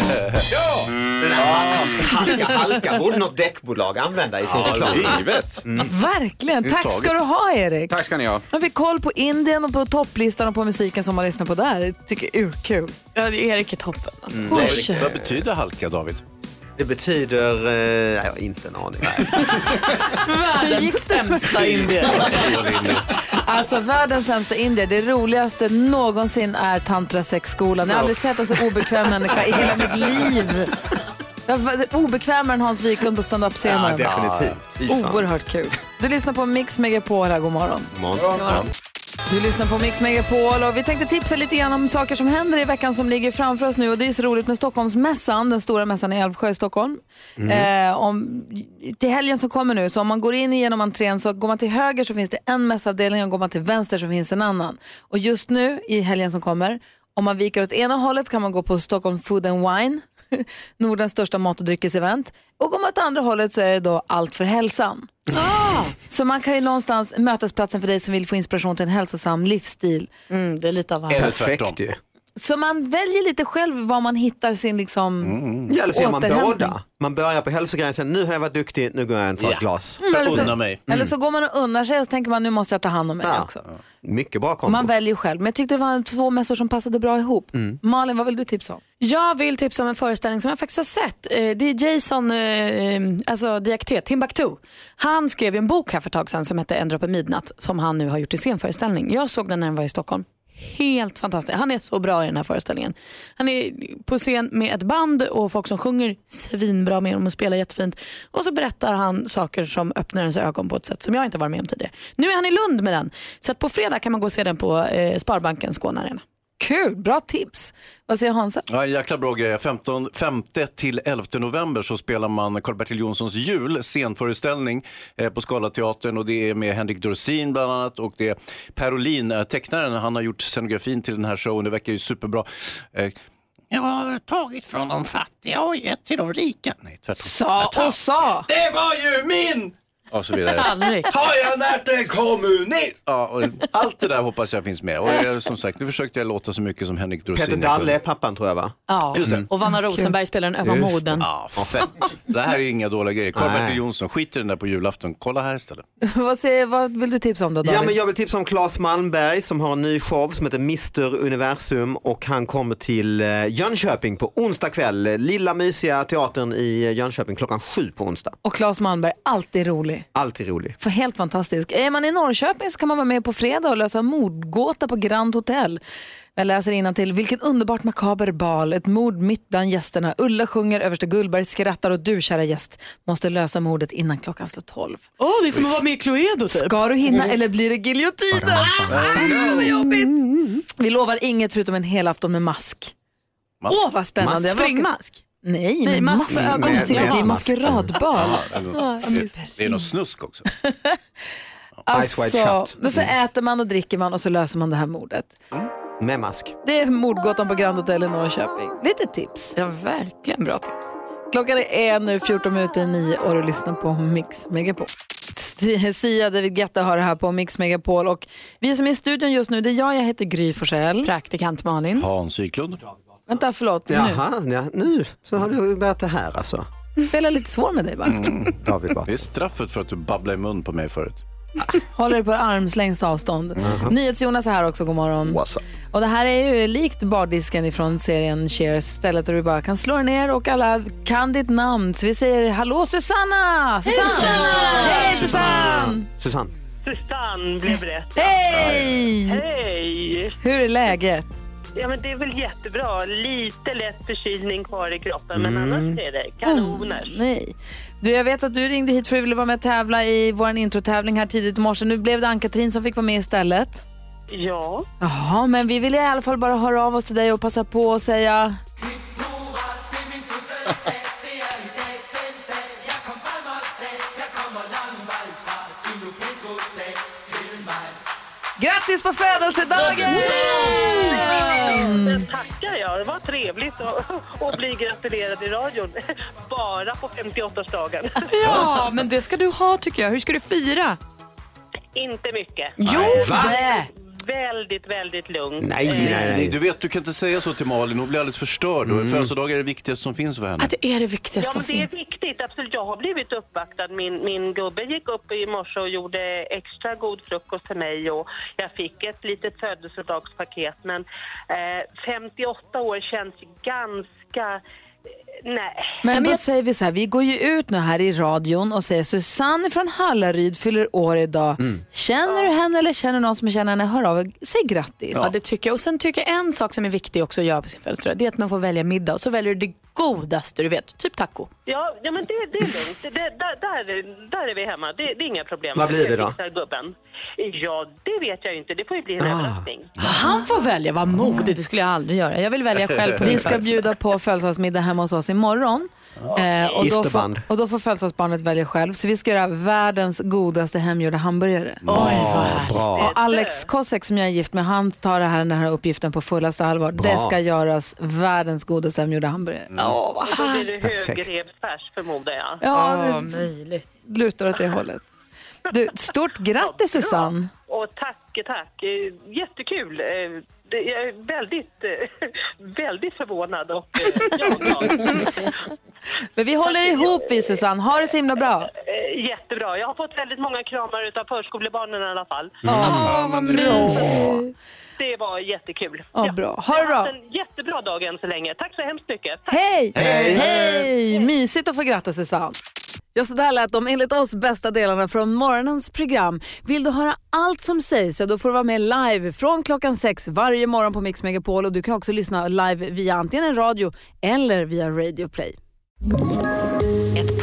Ja! Halka, halka borde något däckbolag använda i sin Ja, reklam. givet. Verkligen. Tack ska du ha, Erik. Tack ska ni ha. Nu har vi koll på Indien och på topplistan och på musiken som man lyssnar på där. Det tycker jag är urkul. Ja, Erik är toppen. Alltså. Mm. David, Oj. Vad betyder halka, David? Det betyder... Eh, jag har inte en aning. Världens sämsta indier. Alltså världens sämsta indier, det roligaste någonsin är tantrasexskolan. Jag har aldrig sett en så obekväm människa i hela mitt liv. Jag var Obekvämare än Hans Wiklund på standup-scenen. Ja, definitivt. Fy fan. Oerhört kul. Du lyssnar på Mix Megapol här, god morgon. Imorgon. Du lyssnar på Mix Megapol och vi tänkte tipsa lite grann om saker som händer i veckan som ligger framför oss nu. Och det är ju så roligt med Stockholmsmässan, den stora mässan i Älvsjö i Stockholm. Mm. Eh, om, till helgen som kommer nu, så om man går in genom entrén så går man till höger så finns det en mässavdelning och går man till vänster så finns en annan. Och just nu i helgen som kommer, om man viker åt ena hållet kan man gå på Stockholm Food and Wine, Nordens största mat och dryckesevent. Och går man åt andra hållet så är det då Allt för hälsan. Så man kan ju någonstans, mötesplatsen för dig som vill få inspiration till en hälsosam livsstil. Mm, det är lite av allt. Perfekt ju. Så man väljer lite själv var man hittar sin liksom Mm, Ja, eller så gör man återhämtning. båda. Man börjar på hälsogrejen, sen nu har jag varit duktig, nu går jag och tar ett Ja. glas. Mm, eller, så, eller så går man och unnar sig och så tänker man nu måste jag ta hand om mig också. Mycket bra kombo. Man väljer själv. Men jag tyckte det var två mässor som passade bra ihop. Mm. Malin, vad vill du tipsa om? Jag vill tipsa om en föreställning som jag faktiskt har sett. Eh, Det är Jason, eh, alltså Diakité, Timbuktu. Han skrev ju en bok här för ett tag sedan som hette En droppe midnatt som han nu har gjort till scenföreställning. Jag såg den när den var i Stockholm. Helt fantastisk. Han är så bra i den här föreställningen. Han är på scen med ett band och folk som sjunger svinbra med honom och spelar jättefint. Och så berättar han saker som öppnar ens ögon på ett sätt som jag inte varit med om tidigare. Nu är han i Lund med den. Så att på fredag kan man gå och se den på eh, Sparbanken Skåne Arena. Kul, bra tips. Vad säger Hansa? Ja, en jäkla bra grej. 15, 5 till 11 november så spelar man Karl-Bertil Jonssons jul, scenföreställning eh, på Scalateatern och det är med Henrik Dorsin bland annat och det är Per Olin, eh, tecknaren, han har gjort scenografin till den här showen, det verkar ju superbra. Eh, Jag har tagit från de fattiga och gett till de rika. Nej, tvärtom. Sa och sa. Det var ju min! Och så vidare. Har jag närt en kommunist? Ja, och allt det där hoppas jag finns med. Och eh, som sagt, nu försökte jag låta så mycket som Henrik Dorsin. Peter Dalle är pappan tror jag va? Ja, Just det. och Vanna Rosenberg spelar den ömma Mm. Just det. moden. Ja, fett. Det här är inga dåliga grejer. Karl-Bertil Jonsson, skit i den där på julafton. Kolla här istället. vad, säger, vad vill du tipsa om då David? Ja, men jag vill tipsa om Claes Malmberg som har en ny show som heter Mr Universum och han kommer till eh, Jönköping på onsdag kväll. Lilla mysiga teatern i eh, Jönköping klockan sju på onsdag. Och Claes Malmberg, alltid rolig. Alltid rolig. För helt fantastisk. Är man i Norrköping så kan man vara med på fredag och lösa mordgåta på Grand Hotel. Jag läser till. Vilken underbart makaber bal. Ett mord mitt bland gästerna. Ulla sjunger, överste Gullberg skrattar och du kära gäst måste lösa mordet innan klockan slår tolv. Åh, det är som att vara med i Cluedo typ. Ska du hinna Mm. eller blir det giljotinen? Ah, vad jobbigt. Vi lovar inget förutom en hel afton med mask. Åh, Mask. vad spännande. Mask. Jag var- Springmask? Nej, Nej, men mask mask med med ögon. Med- med- maskeradbal. Ja, det är- Det är något snusk också. Alltså, Ice White Shut. men så äter man och dricker man och så löser man det här mordet. Med mask. Det är mordgåtan på Grand Hotel i Norrköping. Det är ett tips. Ja, verkligen bra tips. Klockan är nu 14 minuter i nio och du lyssnar på Mix Megapol. Sia, David Guetta har det här på Mix Megapol och vi som är i studion just nu, det är jag, jag heter Gry Forssell. Praktikant Malin. Hans Wiklund. Vänta, förlåt. Jaha, ja, nu så har du börjat det här alltså. Mm. Nu spelar lite svår med dig bara. Mm. David Det är straffet för att du babblade i mun på mig förut. Håller dig på armslängds avstånd. NyhetsJonas är här också, god morgon. Och det här är ju likt bardisken ifrån serien Cheers, stället där du bara kan slå dig ner och alla kan ditt namn. Så vi säger hallå Susanna! Susanne! Hej Susanne! Susanne. Susanne blev rätt. Hej! Hej! Hur är läget? Ja, men det är väl jättebra. Lite lätt förkylning kvar i kroppen, men Mm. annars är det Oh. kanoner. Mm, nej. Du, jag vet att du ringde hit för att du ville vara med och tävla i vår introtävling här tidigt i morse. Nu blev det Ann-Katrin som fick vara med istället. Ja. Jaha, men vi ville i alla fall bara höra av oss till dig och passa på och säga grattis på födelsedagen! Det tackar jag. Det var trevligt att, att bli gratulerad i radion. Bara på 58-årsdagen. Ja, men det ska du ha tycker jag. Hur ska du fira? Inte mycket. Jo, Va? det. väldigt, väldigt lugn. Nej, Eh, nej, Mm. nej. Du vet, du kan inte säga så till Malin. Hon blir alldeles förstörd. och Födelsedagar är det viktigaste som finns för henne. Det är det viktigaste som Ja, men det finns. är viktigt. Absolut. Jag har blivit uppvaktad. Min, min gubbe gick upp i morse och gjorde extra god frukost till mig och jag fick ett litet födelsedagspaket. Men eh, 58 år känns ganska... eh, Nej. Men då säger vi så här, vi går ju ut nu här i radion och säger Susanne från Hallaryd fyller år idag. Mm. Känner du henne eller känner någon som känner henne, hör av er. Säg grattis. Ja. det tycker jag. Och sen tycker jag en sak som är viktig också att göra på sin födelsedag, det är att man får välja middag och så väljer du det godaste du vet, typ taco. Ja, ja men det, det är lugnt. Det, där, där, där är vi hemma. Det, det är inga problem. Vad blir det då? Fixar Gubben. Ja, det vet jag ju inte. Det får ju bli en Ah. överraskning. Han får välja, vad modigt, det skulle jag aldrig göra. Jag vill välja själv på min Vi ska födelsedag. bjuda på födelsedagsmiddag hemma hos oss imorgon. Eh, och, då får, Isterband. och då får födelsedagsbarnet välja själv. Så vi ska göra världens godaste hemgjorda hamburgare. Bra, bra. Och Alex Kosek som jag är gift med, han tar det här, den här uppgiften på fullaste allvar. Bra. Det ska göras världens godaste hemgjorda hamburgare. Åh, vad Då blir det högrevsfärs förmodar jag. Ja, det är lutar åt det hållet. Du, stort grattis Susanne! Och tack, tack. Eh, Jättekul. Eh, det- Jag är väldigt, eh, väldigt förvånad och eh, jag är glad. Men vi håller ihop vi Susanne, ha det så himla bra! Eh, Jättebra. Jag har fått väldigt många kramar utav förskolebarnen i alla fall. Ja, vad mysigt. Det var jättekul. Ja, bra. Ha det bra. Jag har haft en jättebra dag än så länge. Tack så hemskt mycket. Hej! Hej! Hej! Mysigt att få gratta Susanne. Ja, så där lät de enligt oss bästa delarna från morgonens program. Vill du höra allt som sägs så då får du vara med live från klockan sex varje morgon på Mix Megapol och du kan också lyssna live via antingen en radio eller via Radio Play. Ett